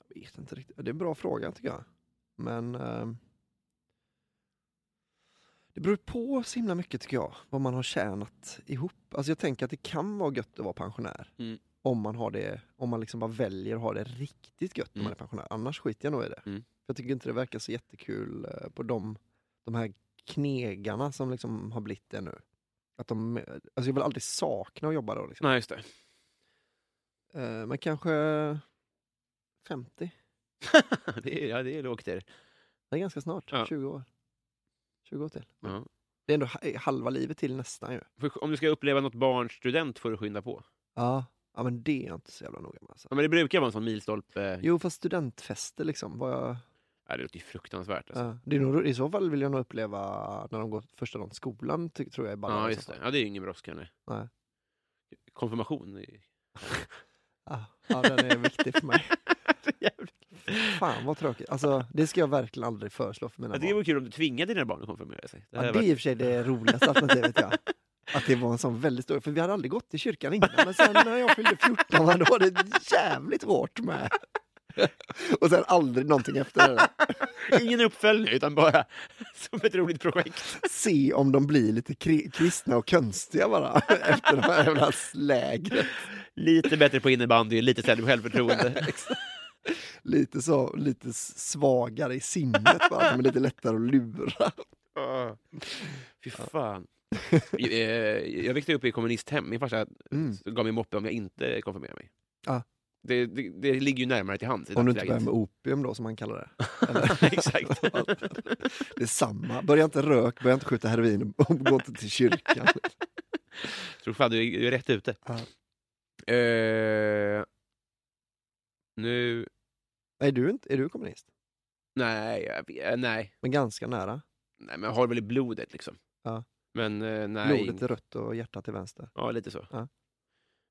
S3: jag vet inte riktigt. Det är en bra fråga tycker jag. Men ehm, det beror på så himla mycket tycker jag, vad man har tjänat ihop. Alltså jag tänker att det kan vara gött att vara pensionär.
S2: Mm.
S3: Om man har det, om man liksom bara väljer att ha det riktigt gött när man
S2: Mm.
S3: är pensionär. Annars skiter jag nog i det.
S2: Mm.
S3: Jag tycker inte det verkar så jättekul eh, på de, de här knegarna som liksom har blivit det nu. Att de, alltså jag vill aldrig sakna att jobba då. Liksom.
S2: Nej, just det.
S3: Eh, Men kanske 50.
S2: det är, ja, det är lågt det.
S3: Det är ganska snart,
S2: Ja.
S3: 20 år. 20 år till. Men
S2: Ja.
S3: Det är ändå ha- eh, halva livet till nästan ju.
S2: För om du ska uppleva något barns student får du skynda på.
S3: Ja. ja, men det är jag inte så jävla noga med. Alltså.
S2: Ja, men det brukar vara en sån milstolpe.
S3: Jo, fast studentfester liksom. Vad jag,
S2: Ja, det låter ju fruktansvärt. Alltså.
S3: ja. det är nog, I så fall vill jag nog uppleva när de går första dagen till skolan, ty, tror jag är ballare.
S2: Ja,
S3: i
S2: just
S3: så
S2: det.
S3: fall.
S2: Ja, det är ju ingen brådska. nej.
S3: Nej.
S2: Konfirmation. är-
S3: Ja. ja, den är viktig för mig.
S2: Så jävla-
S3: Fan vad tråkigt. Alltså, det ska jag verkligen aldrig föreslå för mina
S2: Ja, det
S3: barn.
S2: vore kul om du tvingade dina barn att konfirmera sig. Det
S3: Ja,
S2: hade
S3: det är
S2: varit-
S3: i och för sig det roligaste alternativet, ja. Att det var en sån väldigt stor... För vi hade aldrig gått till kyrkan innan, men sen när jag fyllde 14 va, då var det jävligt hårt med. Och sen aldrig någonting efter det. där.
S2: Ingen uppföljning, utan bara som ett roligt projekt.
S3: Se om de blir lite kri- kristna och konstiga bara, efter det här jävla lägret.
S2: Lite bättre på innebandy, lite sämre på självförtroende.
S3: Lite, så, lite svagare i sinnet bara, de är lite lättare att lura.
S2: Ah, Fy fan. Jag, eh, jag växte upp i kommunisthem. Min farsa
S3: Mm.
S2: gav mig moppe om jag inte konfirmerade mig.
S3: Ah.
S2: Det, det, det ligger ju närmare till hands i
S3: Om du inte
S2: dagsläget.
S3: börjar med opium då, som man kallar det.
S2: Exakt.
S3: Det är samma. Börja inte rök, börja inte skjuta heroin och gå inte till kyrkan.
S2: tror fan du är, du är rätt ute.
S3: Ja.
S2: Eh, nu...
S3: Är du, inte, är du kommunist?
S2: Nej, jag vet- eh, nej.
S3: Men ganska nära.
S2: nej, men jag har väl i blodet liksom.
S3: Ja.
S2: Men eh, nej.
S3: Blodet är rött och hjärtat är vänster.
S2: Ja, lite så.
S3: Ja.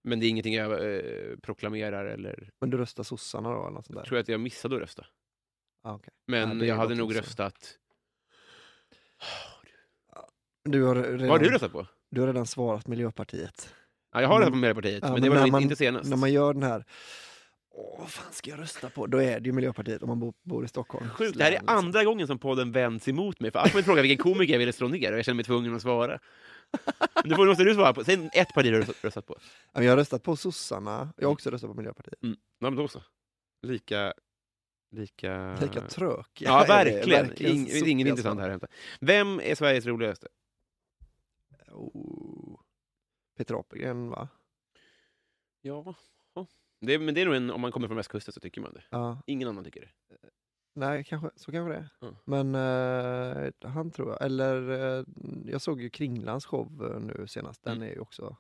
S2: Men det är ingenting jag eh, proklamerar eller...
S3: Men du röstar sossarna då eller något sånt där?
S2: Jag tror att jag missade att rösta.
S3: Ah, okej. Ja,
S2: Men
S3: det
S2: jag
S3: är
S2: hade
S3: gott
S2: nog
S3: också.
S2: röstat...
S3: du, har redan,
S2: Vad har du röstat på?
S3: du har redan svarat Miljöpartiet.
S2: Ja, jag har röstat på Miljöpartiet,
S3: Mm. Ja,
S2: men det
S3: men
S2: var
S3: när
S2: nog
S3: man-
S2: inte senast.
S3: När man gör den här, åh vad fan ska jag rösta på? Då är det ju Miljöpartiet om man bor, bor i Stockholm.
S2: Sjukt, det här är
S3: Liksom.
S2: andra gången som podden vänds emot mig. För Ahmed frågade vilken komiker jag ville slå ner och jag kände mig tvungen att svara. Men Nu får- måste du svara på. Säg ett parti du har röstat på.
S3: Ja, men Jag har röstat på sossarna, jag har också röstat på Miljöpartiet.
S2: Ja, men då så. Lika... Lika...
S3: Lika trök.
S2: Ja,
S3: är det,
S2: verkligen. Ing,
S3: sopiga
S2: ingen intressant
S3: svar.
S2: här att hämta. Vem är Sveriges roligaste?
S3: Oh. Peter Apelgren va?
S2: Ja. Det, är- men det är nog en, om man kommer från västkusten så tycker man det.
S3: Ja,
S2: Ingen annan tycker det.
S3: Nej, kanske, så kanske det är.
S2: Ja.
S3: Men eh, han tror jag, eller eh, jag såg ju Kringlans show eh, nu senast, den
S2: Mm.
S3: är ju också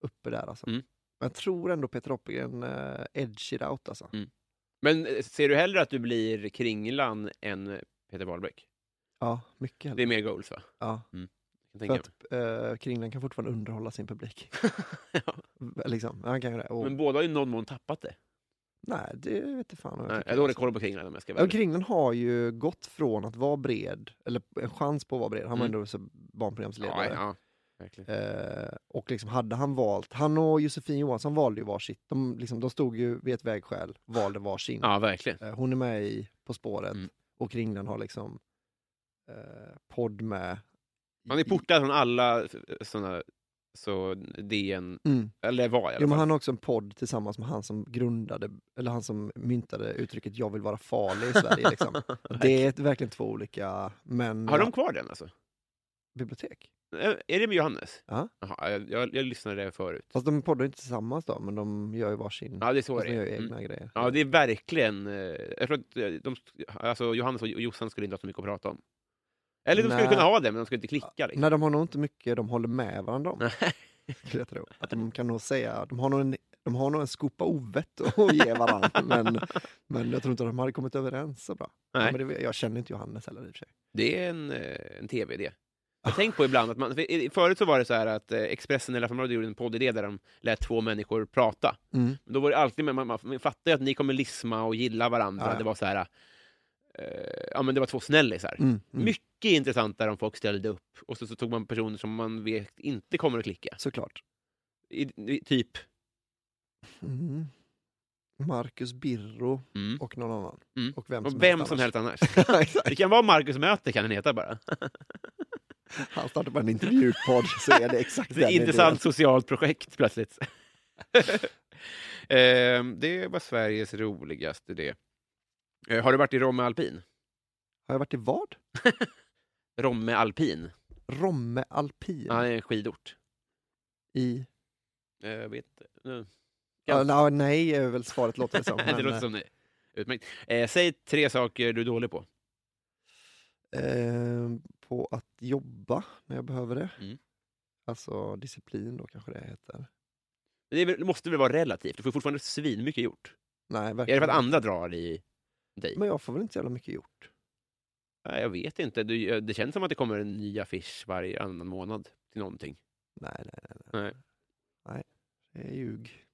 S3: uppe där alltså.
S2: Mm.
S3: Men jag tror ändå Peter Oppegren eh, edge it out alltså.
S2: Mm. Men eh, ser du hellre att du blir Kringlan än Peter Wahlbeck?
S3: Ja, mycket
S2: Det
S3: hellre.
S2: är mer goals, va?
S3: Ja,
S2: Jag
S3: för
S2: tänker
S3: att eh, Kringlan kan fortfarande underhålla sin publik.
S2: mig. ja.
S3: liksom, han kan ju det. Och,
S2: Men båda har ju i någon mån tappat det.
S3: Nej, det vet jag fan. vad
S2: Nej,
S3: tycker.
S2: jag har dålig koll på Kringlan om jag ska vara
S3: Ja,
S2: ärlig.
S3: Kringlan har ju gått från att vara bred, eller en chans på att vara bred, han var
S2: Mm.
S3: ändå så barnprogramsledare.
S2: Ja, ja, verkligen.
S3: Eh, och liksom hade han valt, han och Josefin Johansson valde ju varsitt. De, liksom, de stod ju vid ett vägskäl, valde varsin.
S2: Ja, verkligen.
S3: Eh, hon är med i På spåret
S2: Mm.
S3: och Kringlan har liksom eh, podd med.
S2: Han är portad från alla sådana... Så DN...
S3: Mm.
S2: Eller var i alla
S3: Jo, men
S2: fall.
S3: han har också en podd tillsammans med han som grundade, eller han som myntade uttrycket jag vill vara farlig i Sverige. Liksom. det är ett- verkligen två olika, men...
S2: Har de kvar den alltså?
S3: bibliotek?
S2: Eh, Är det med Johannes?
S3: Ja.
S2: Jaha, jag, jag, jag lyssnade förut.
S3: Fast de poddar ju inte tillsammans då, men de gör ju varsin.
S2: Ja, det är så
S3: fast
S2: det
S3: de gör
S2: är.
S3: ju egna
S2: Mm.
S3: grejer.
S2: Ja, det är verkligen... eh, Jag tror att eh, de, alltså, Johannes och Jossan skulle inte ha så mycket att prata om. Eller de skulle
S3: Nej.
S2: kunna ha det, men de skulle inte klicka. Liksom.
S3: Nej, de har nog inte mycket de håller med varandra om. skulle jag tro. Att de kan nog säga, de har nog en, de har nog en skopa ovett att ge varandra, men, men jag tror inte de hade kommit överens så bra. Ja,
S2: Nej.
S3: men det, jag känner inte Johannes heller i och för sig.
S2: Det är en, eh, en tv-idé. Jag tänker på ibland att man, för i- förut så var det så här att eh, Expressen eller Aftonbladet gjorde en poddidé där de lät två människor prata.
S3: Mm.
S2: Men Då var det alltid, men man, man, man fattar ju att ni kommer lisma och gilla varandra.
S3: Ja.
S2: Det var så här, eh, ja men det var två snällisar.
S3: Mm. Mm.
S2: Mycket intressantare om folk ställde upp och så, så tog man personer som man vet inte kommer att klicka.
S3: Såklart.
S2: I, i, typ,
S3: Mm. Marcus Birro
S2: mm.
S3: och någon annan.
S2: Mm.
S3: Och vem som
S2: och vem
S3: helst
S2: som
S3: annars.
S2: helst annars.
S3: Ja, exakt.
S2: Det kan vara Marcus Möte kan den heta bara.
S3: Han startar bara en intervjupodd så är det exakt
S2: Det är
S3: den
S2: ett intressant socialt projekt plötsligt. Ehm, det var Sveriges roligaste det. Eh, Har du varit i Romme Alpin?
S3: Har jag varit i vad?
S2: Romme Alpin?
S3: Romme Alpin
S2: Ja, det är en skidort.
S3: i...
S2: Eh, Jag vet inte. Nu. Ja.
S3: Ja. Ja, nej, är väl svaret låter det som.
S2: det
S3: men,
S2: låter som det. Utmärkt. Eh, säg tre saker du är dålig på.
S3: eh, på att jobba när jag behöver det.
S2: Mm.
S3: Alltså disciplin då kanske det heter.
S2: Det, är, väl- det måste väl vara relativt? Du får fortfarande svinmycket gjort.
S3: Nej,
S2: Är det
S3: verkligen.
S2: för att andra drar i dig?
S3: Men jag får väl inte så jävla mycket gjort.
S2: Nej, jag vet inte. Du, det känns som att det kommer en ny affisch varje annan månad till någonting.
S3: Nej, nej, nej.
S2: Nej.
S3: Det är ljug.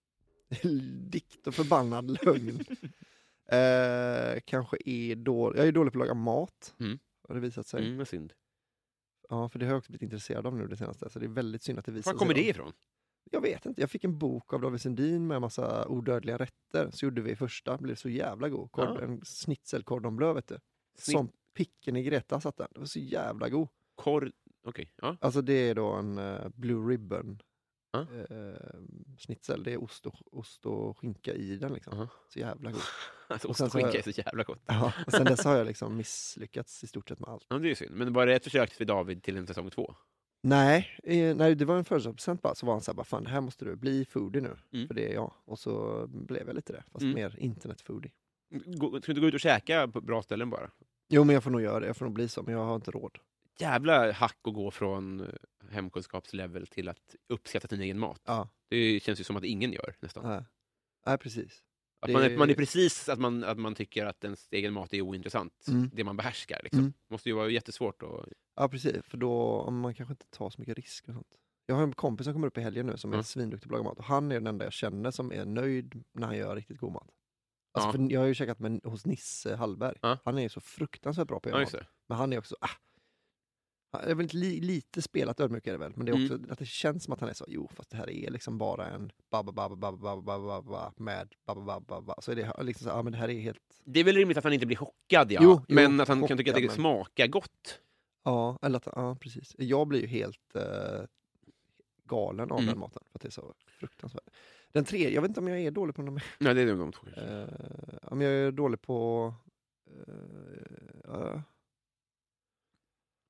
S3: Dikt och förbannad lögn. eh, kanske är dålig. Jag är dålig på att laga mat.
S2: Mm.
S3: Har det visat sig.
S2: Mm, vad synd.
S3: Ja, för det har jag också blivit intresserad av nu det senaste. Så det är väldigt synd att det visar
S2: Var kommer
S3: sig.
S2: det ifrån?
S3: Jag vet inte. Jag fick en bok av David Sundin med en massa odödliga rätter. Så gjorde vi första. Blev så jävla god. Kord,
S2: Ja.
S3: En schnitzel cordon bleu, vet du.
S2: Snitt-
S3: Som picken i Greta satt den. Det var så jävla god.
S2: Kor... Okej, ja.
S3: Alltså det är då en eh, Blue Ribbon
S2: Ja.
S3: eh, schnitzel. Det är ost och, ost och skinka i den liksom.
S2: Aha.
S3: Så jävla god.
S2: Alltså,
S3: Och
S2: ost
S3: sen
S2: och
S3: så har
S2: skinka är
S3: jag-
S2: så jävla gott.
S3: Ja. Och sen dess har jag liksom misslyckats i stort sett med allt.
S2: Ja, men det är ju synd. Men var det ett försök för David till en säsong två?
S3: Nej, eh, nej det var en födelsedagspresent bara. Så var han så här, bara, fan det här måste du bli foodie nu.
S2: Mm.
S3: För det är jag. Och så blev jag lite det. Fast
S2: Mm.
S3: mer internetfoodie.
S2: Gå- Ska du inte gå ut och käka på bra ställen bara?
S3: Jo men jag får nog göra det. Jag får nog bli så. Men jag har inte råd.
S2: Jävla hack att gå från eh, hemkunskapslevel till att uppskatta sin egen mat.
S3: Ja,
S2: Det känns ju som att ingen gör nästan.
S3: nej. nej precis.
S2: Att man, är,
S3: det-
S2: man är precis att man, att man tycker att ens egen mat är ointressant.
S3: Mm.
S2: Det man behärskar. Liksom.
S3: Mm.
S2: måste ju vara jättesvårt. Och...
S3: Ja precis. För då man kanske inte tar så mycket risk och sånt. Jag har en kompis som kommer upp i helgen nu som är
S2: Ja.
S3: svinduktig på att laga mat. Och han är den enda jag känner som är nöjd när han gör riktigt god mat. Alltså,
S2: Ja.
S3: för jag har ju käkat med, hos Nisse Hallberg.
S2: Ja.
S3: Han är ju så fruktansvärt bra på att
S2: Ja,
S3: göra
S2: just
S3: mat.
S2: det.
S3: Men han är också... Ah, han är väl inte li, lite spelat ödmjuk är det väl, men
S2: Mm.
S3: det är också att det känns som att han är så, jo fast det här är liksom bara en babba babba babba babba babba med babba babba babba. Så är det liksom så, här, ja men det här är helt,
S2: det är väl rimligt att han inte blir chockad, ja.
S3: Jo, jo,
S2: men att han kan tycka att
S3: chockad,
S2: det
S3: men-
S2: smakar gott.
S3: ja eller att, ja precis. Jag blir ju helt eh, galen av
S2: Mm.
S3: den maten för att det är så fruktansvärt. Den tredje, jag vet inte om jag är dålig på de
S2: Nej, det är de två. kanske.
S3: Eh, ja, men jag är dålig på... eh, ja.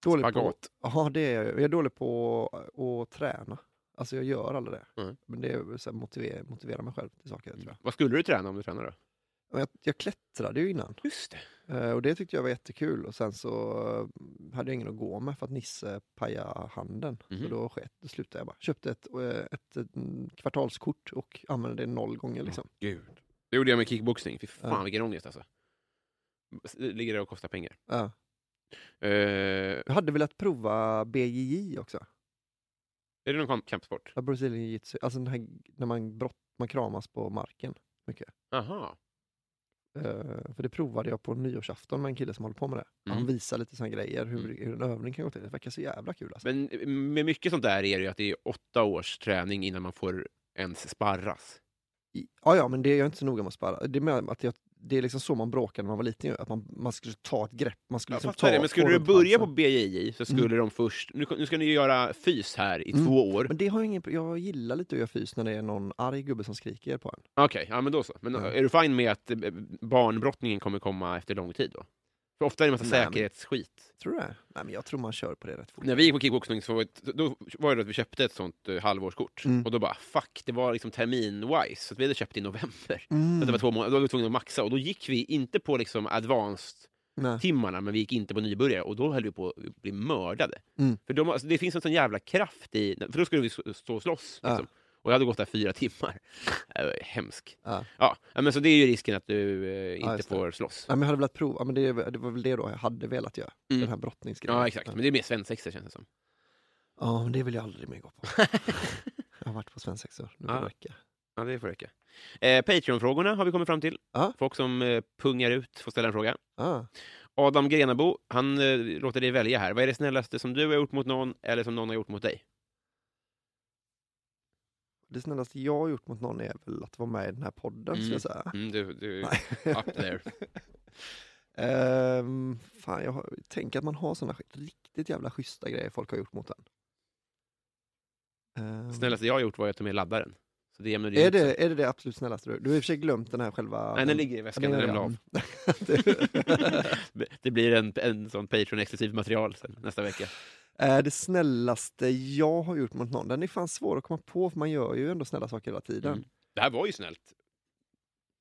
S3: dålig på...
S2: Spagat.
S3: Ja, det är jag. ju. Jag är dålig på att- att träna. Alltså jag gör aldrig det.
S2: Mm.
S3: Men det är så här, motivera, motivera mig själv till saker tror jag.
S2: Vad skulle du träna om du tränade? då?
S3: Men jag. Jag klättrade ju innan
S2: Just det.
S3: eh, och det tyckte jag var jättekul. Och sen så eh, hade jag ingen att gå med för att Nisse pajade handen. Så
S2: Mhm.
S3: då, skett, då slutade jag bara. Köpte ett, eh, ett, ett mm, kvartalskort och använde det noll gånger liksom.
S2: Gud. Det gjorde jag med kickboxning. Fy fan
S3: Ja.
S2: vilken ångest alltså. Det ligger där och kostar pengar.
S3: Ja.
S2: Eh,
S3: Jag hade velat prova BJJ också.
S2: är det någon kamp- kampsport?
S3: Ja, Brazilian jiu-jitsu. Alltså den här, när man, brott, man kramas på marken.
S2: Aha.
S3: Eh, för det provade jag på nyårsafton med en kille som håller på med det.
S2: Mm.
S3: Han visar lite såna grejer, hur,
S2: Mm.
S3: hur en övning kan gå till. Det verkar så jävla kul alltså.
S2: Men eh, med mycket sånt där är det ju att det är åtta års träning innan man får ens sparras.
S3: I, ja, ja, men det är jag inte så noga med att spara. Det är, med att jag, det är liksom så man bråkade när man var liten ju. Att man, man skulle ta ett grepp. Man skulle
S2: Jag
S3: liksom
S2: fattar
S3: ta
S2: det, men skulle
S3: två
S2: du
S3: runt
S2: börja på
S3: halsen.
S2: BJJ så skulle de först... Nu, nu ska ni göra fys här i
S3: Mm.
S2: två år.
S3: Men det har jag ingen... Jag gillar lite att göra fys när det är någon arg gubbe som skriker på en.
S2: Okej, ja men då så. Men
S3: Ja.
S2: är du fine med att eh, barnbrottningen kommer komma efter lång tid då? För ofta är det en massa
S3: Nej, men-
S2: säkerhetsskit.
S3: Tror du det? Nej, men jag tror man kör på det rätt fort.
S2: När vi gick på kickboxning så var det, då var det att vi köpte ett sånt eh, halvårskort.
S3: Mm.
S2: Och då bara, fuck, det var liksom termin-wise. Så att vi hade köpt i november. Så att det var
S3: Mm.
S2: två månader, då var vi tvungna att maxa. Och då gick vi inte på liksom advanced-timmarna,
S3: Nej.
S2: men vi gick inte på nybörjare. Och då höll vi på att bli mördade.
S3: Mm.
S2: För de, alltså, det finns en sån jävla kraft i... För då skulle vi s- stå och slåss.
S3: Ja.
S2: Liksom. Och jag hade gått där fyra timmar. Jag var Hemsk.
S3: Ja.
S2: Ja, ja, men så det är ju risken att du eh, inte
S3: just det.
S2: får slåss.
S3: Nej, men jag hade velat prova. Ja, men det, det var väl det då jag hade velat göra.
S2: Mm.
S3: Den här brottningsgrejen.
S2: Ja, exakt. Men det är mer svensexor känns det som.
S3: Ja, men det vill jag aldrig mer gå på. jag har varit på svensexor nu på
S2: Ja.
S3: en vecka.
S2: Ja, det får räcka. Eh, Patreon-frågorna har vi kommit fram till.
S3: Ja.
S2: Folk som eh, pungar ut får ställa en fråga.
S3: Ah.
S2: Adam Grenabo, han eh, låter dig välja här. Vad är det snällaste som du har gjort mot någon eller som någon har gjort mot dig?
S3: Det snällaste jag har gjort mot någon är väl att vara med i den här podden, skulle jag säga.
S2: Mm, du, du,
S3: Nej.
S2: up there.
S3: Ehm, fan, jag har, tänk att man har såna sk- riktigt jävla schyssta grejer folk har gjort mot en. Ehm,
S2: Snällaste jag har gjort var att ta med laddaren. Så det jämnade ju
S3: är,
S2: ut sig.
S3: det, är det det absolut snällaste du Du har i och för sig glömt den här själva...
S2: Nej, den ligger i väskan när den la av. det blir en, en sån Patreon-exklusiv material sen, nästa vecka.
S3: Eh, Det snällaste jag har gjort mot någon, den är fan svår att komma på för man gör ju ändå snälla saker hela tiden.
S2: Mm. Det här var ju snällt.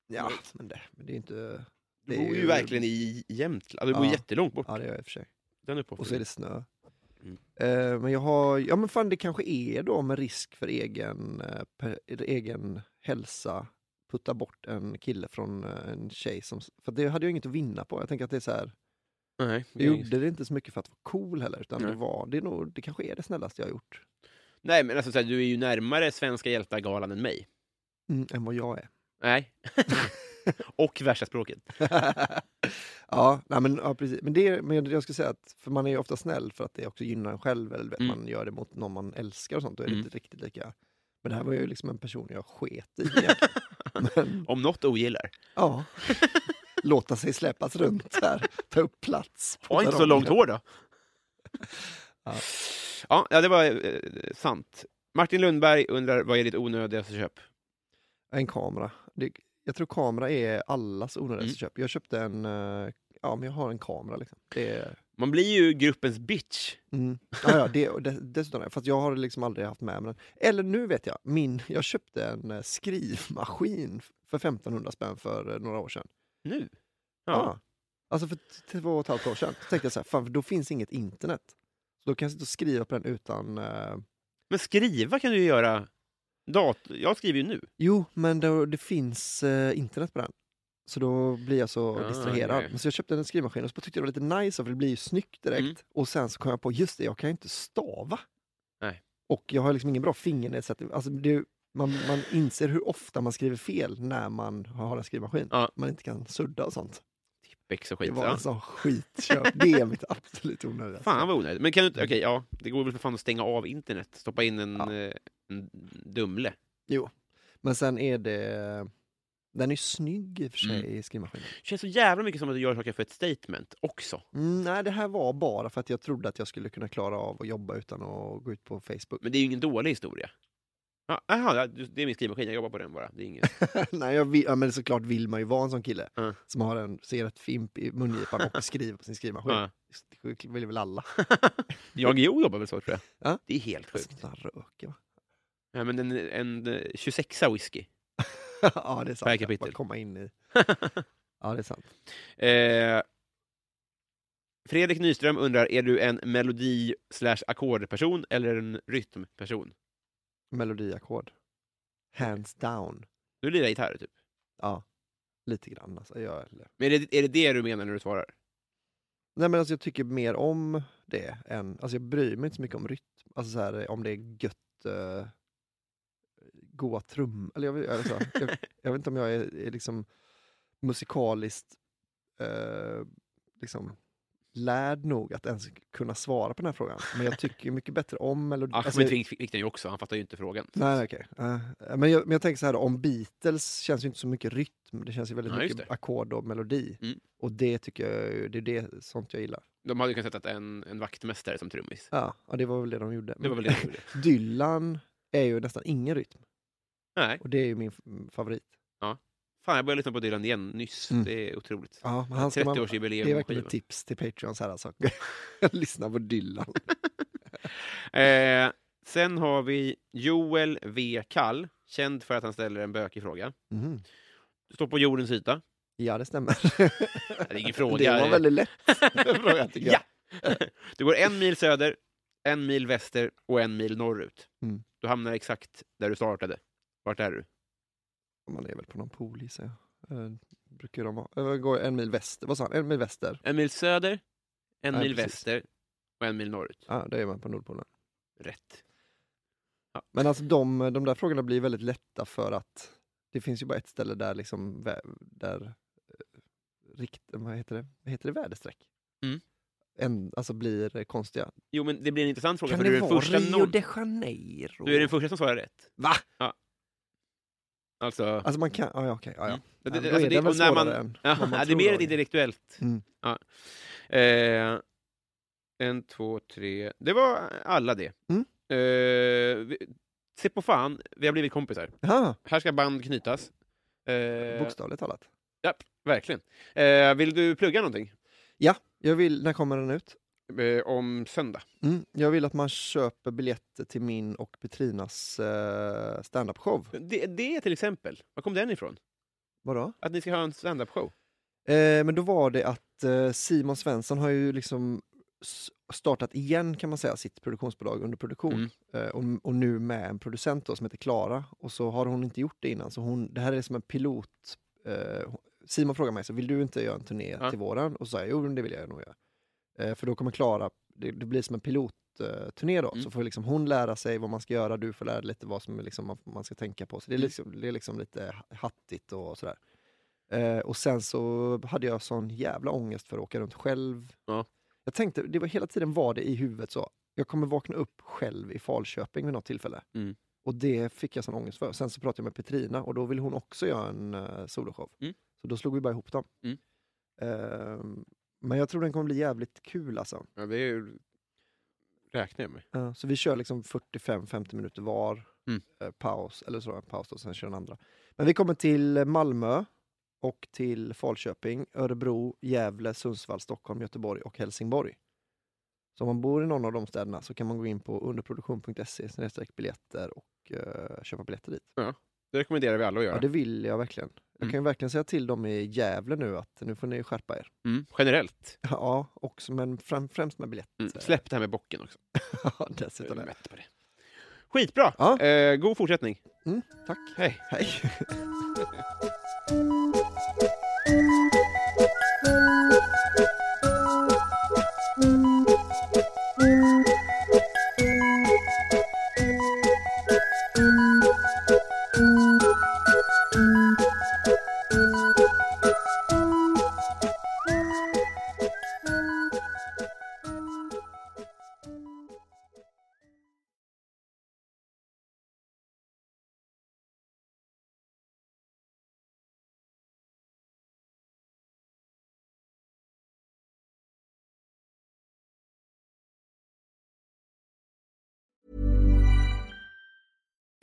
S3: Ja, men det, men det är ju inte...
S2: Du
S3: Det är
S2: bor ju
S3: ju-
S2: verkligen i Jämtland. Alltså, Du bor
S3: Ja.
S2: jättelångt bort.
S3: Ja, det gör jag i och för sig.
S2: Den
S3: Och så är
S2: uppoffringen.
S3: det snö.
S2: Mm.
S3: Eh, Men jag har, ja men fan det kanske är då med risk för egen, eh, per, egen hälsa putta bort en kille från eh, en tjej som, för det hade jag inget att vinna på. Jag tänker att det är så här,
S2: Nej, det
S3: jag
S2: är ingen-
S3: gjorde det inte så mycket för att vara cool heller, utan
S2: Nej.
S3: det var, det är nog, det kanske är det snällaste jag har gjort.
S2: Nej, men alltså, så här, du är ju närmare Svenska hjältar-galan än mig.
S3: Mm, än vad jag är.
S2: Nej. och värsta språket.
S3: ja, nej, men, ja, precis. Men, det, men jag skulle säga att för man är ju ofta snäll för att det också gynnar en själv. Eller du vet,
S2: Mm.
S3: man gör det mot någon man älskar och sånt. Då är det
S2: Mm.
S3: inte riktigt lika. Men det här var ju liksom en person jag sket i. egentligen. men
S2: Om något ogillar.
S3: ja, låta sig släpas runt här. Ta upp plats. på
S2: Ha inte så
S3: perrongen.
S2: långt hår då.
S3: Ja.
S2: Ja, ja, det var eh, sant. Martin Lundberg undrar vad är ditt onödigaste köp?
S3: En kamera. Det, jag tror kamera är allas onödigaste
S2: Mm.
S3: köp. Jag köpte en, eh, ja men jag har en kamera liksom. Det är,
S2: Man blir ju gruppens bitch.
S3: Mm. Ja, ja, det, och dess- dessutom, fast jag har liksom aldrig haft med mig den. Eller nu vet jag, min, jag köpte en eh, skrivmaskin f- för 1500 spänn för eh, några år sedan.
S2: Nu? Ja.
S3: Alltså för t- två och ett halvt år sedan. Så tänkte jag så här, fan, för då finns inget internet. Så då kan jag sitta och skriva på den utan... Eh,
S2: Men skriva kan du ju göra. Dat jag skriver ju nu.
S3: jo, men då, det finns eh, internet på den. Så då blir jag så
S2: Ah,
S3: distraherad.
S2: okej.
S3: Men Så jag köpte en skrivmaskin och så tyckte jag det var lite nice, för det blir ju snyggt direkt.
S2: Mm.
S3: Och sen så kom jag på, just det, jag kan ju inte stava.
S2: Nej.
S3: Och jag har liksom ingen bra fingernedsättning. Alltså, det, är ju- man, man inser hur ofta man skriver fel när man har en skrivmaskin.
S2: Ja.
S3: Man inte kan sudda och sånt.
S2: Bex och
S3: Det
S2: skit.
S3: var
S2: Ja.
S3: en sån skitköp. Det är mitt absolut onödiga.
S2: Fan vad onödigt. Men kan du inte, okej, ja, det går väl för fan att stänga av internet. Stoppa in en,
S3: Ja.
S2: eh, en Dumle.
S3: Men sen är det... Den är snygg i och för sig,
S2: Mm.
S3: skrivmaskinen.
S2: Känns så jävla mycket som att du gör saker för ett statement också.
S3: Mm, nej, det här var bara för att jag trodde att jag skulle kunna klara av att jobba utan att gå ut på Facebook.
S2: Men det är ju ingen dålig historia. Ja, aha, ja, du- det är min skrivmaskin, jag jobbar på den bara. Det är ingen...
S3: nej, jag vill, ja, men såklart vill man ju vara en sån kille
S2: Ja.
S3: som har en cigarettfimp i mungipan och skriver på sin skrivmaskin.
S2: Ja.
S3: Det vill väl alla.
S2: Jag och Jo jobbar väl så tror jag.
S3: Ja.
S2: Det är helt sjukt.
S3: Sånt där Alltså, röker va?
S2: Ja, men en, en eh, 26a whisky.
S3: ja, det är sant.
S2: Per
S3: Jag
S2: kapitel.
S3: bara komma in i. Ja, det är sant.
S2: eh, Fredrik Nyström undrar, är du en melodi slash ackordperson eller en rytmperson?
S3: Melodiackord. Hands down.
S2: Du lirar gitarr typ.
S3: Ja, lite grann alltså. Jag, eller-
S2: Men är det, är det det du menar när du svarar?
S3: Nej, men alltså, jag tycker mer om det än... Alltså jag bryr mig inte så mycket om rytm. Alltså så här, om det är gött... Uh, goa trum... Eller jag, vet- eller så, jag, jag vet inte om jag är, är liksom musikaliskt eh, liksom lärd nog att ens kunna svara på den här frågan. Men jag tycker mycket bättre om melodi...
S2: Ahmed
S3: alltså,
S2: Ah, fick, fick den ju också, han fattar ju inte frågan.
S3: Nej, okej. Eh, men, jag, men jag tänker så här, då, om Beatles känns ju inte så mycket rytm, det känns ju väldigt
S2: Ja, just
S3: mycket
S2: det.
S3: ackord och melodi.
S2: Mm.
S3: Och det tycker jag, ju- det är det sånt jag gillar.
S2: De hade ju kunnat sätta en, en vaktmästare som trummis.
S3: Ja, och det var väl det de gjorde.
S2: Det var väl det de gjorde.
S3: Dylan är ju nästan ingen rytm,
S2: Nej,
S3: och det är ju min f- mm, favorit.
S2: fan jag började lyssna på Dylan igen nyss.
S3: Mm.
S2: Det är otroligt.
S3: Ja, men han ska man,
S2: årsjubileum
S3: det är verkligen ett tips till Patreons här alltså. Lyssna på Dylan.
S2: Eh, sen har vi Joel V. Kall, känd för att han ställer en bökig fråga.
S3: Mhm.
S2: Du står på jordens yta.
S3: Ja, det stämmer.
S2: Det är ingen
S3: det
S2: fråga.
S3: var väldigt lätt. fråga, tycker jag.
S2: ja! Du går en mil söder, en mil väster och en mil norrut.
S3: Mm.
S2: Du hamnar exakt där du startade. Vart är du?
S3: Man är väl på någon pool gissar jag. Eh, brukar de vara. Jag går en mil väster, vad sa han? En mil väster.
S2: En mil söder, en
S3: Nej,
S2: mil
S3: precis.
S2: väster och en mil norrut.
S3: Ja, ah, då är man på Nordpolen.
S2: rätt.
S3: Men alltså de, de där frågorna blir väldigt lätta för att det finns ju bara ett ställe där liksom, vä- där eh, rikt, vad heter det, vad heter det väderstreck?
S2: Mm.
S3: En, alltså blir eh, konstiga.
S2: Jo, men det blir en intressant fråga,
S3: kan
S2: för du
S3: det
S2: är, den
S3: vara
S2: första
S3: Rio
S2: noll-
S3: de Janeiro?
S2: du är den första som svarar rätt.
S3: Va?
S2: Ja. Alltså,
S3: Alltså man kan, ja ja, okej, ja, ja.
S2: Mm. det,
S3: Ja, men då
S2: det, alltså,
S3: är
S2: det,
S3: den väl
S2: och när man,
S3: svårare än
S2: Ja,
S3: vad man
S2: ja, det är
S3: tror
S2: mer
S3: då.
S2: ett intellektuellt.
S3: Mm.
S2: Ja. Eh, en, två, tre. Det var alla det.
S3: Mm.
S2: Eh, vi, se på fan, vi har blivit kompisar.
S3: Jaha,
S2: Här ska band knytas. Eh,
S3: bokstavligt talat.
S2: verkligen. Eh, vill du plugga någonting
S3: Jag vill, när kommer den ut?
S2: eh, om söndag?
S3: Mm. Jag vill att man köper biljetter till min och Petrinas eh, standup-show.
S2: Det, det till exempel. Var kom den ifrån?
S3: Vadå?
S2: Att ni ska ha en standup-show?
S3: Eh, men då var det att eh, Simon Svensson har ju liksom s- startat igen kan man säga sitt produktionsbolag under produktion
S2: Mm.
S3: eh, och, och nu med en producent då, som heter Klara och så har hon inte gjort det innan så hon, det här är som en pilot. Eh, hon- Simon frågar mig så vill du inte göra en turné
S2: Ja.
S3: till våren? Och så sa jag jo men det vill jag nog göra. Eh, för då kommer Klara, det, det blir som en pilotturné då,
S2: Mm.
S3: så får liksom hon lära sig vad man ska göra, du får lära dig lite vad som är liksom man, man ska tänka på. Så det är,
S2: Mm.
S3: liksom, det är liksom lite hattigt och sådär. Eh, och sen så hade jag sån jävla ångest för att åka runt själv.
S2: Ja.
S3: Jag tänkte, det var, hela tiden var det i huvudet så, jag kommer vakna upp själv i Falköping vid något tillfälle.
S2: Mm.
S3: Och det fick jag sån ångest för. Sen så pratade jag med Petrina och då ville hon också göra en uh, soloshow.
S2: Mm.
S3: Så då slog vi bara ihop dem.
S2: Mm.
S3: Ehm, men jag tror den kommer bli jävligt kul alltså.
S2: Ja, det är ju... räknar jag med.
S3: Ja, så vi kör liksom 45-50 minuter var,
S2: Mm.
S3: eh, paus, eller så en paus då, sen kör den andra. Men vi kommer till Malmö och till Falköping, Örebro, Gävle, Sundsvall, Stockholm, Göteborg och Helsingborg. Så om man bor i någon av de städerna så kan man gå in på underproduktion.se snedstreck biljetter och eh, köpa biljetter dit.
S2: Det rekommenderar vi alla att göra.
S3: Ja, det vill jag verkligen. Jag
S2: Mm.
S3: kan ju verkligen säga till dem i Gävle nu att nu får ni skärpa er.
S2: mm. Generellt.
S3: Ja, också, men fram, främst med biljetter.
S2: Mm. Släpp det här med bocken också.
S3: Ja,
S2: Jag
S3: Dessutom.
S2: är
S3: det.
S2: mätt på det. Skitbra!
S3: Ja.
S2: Eh, god fortsättning.
S3: Mm, tack.
S2: Hej.
S3: Hej.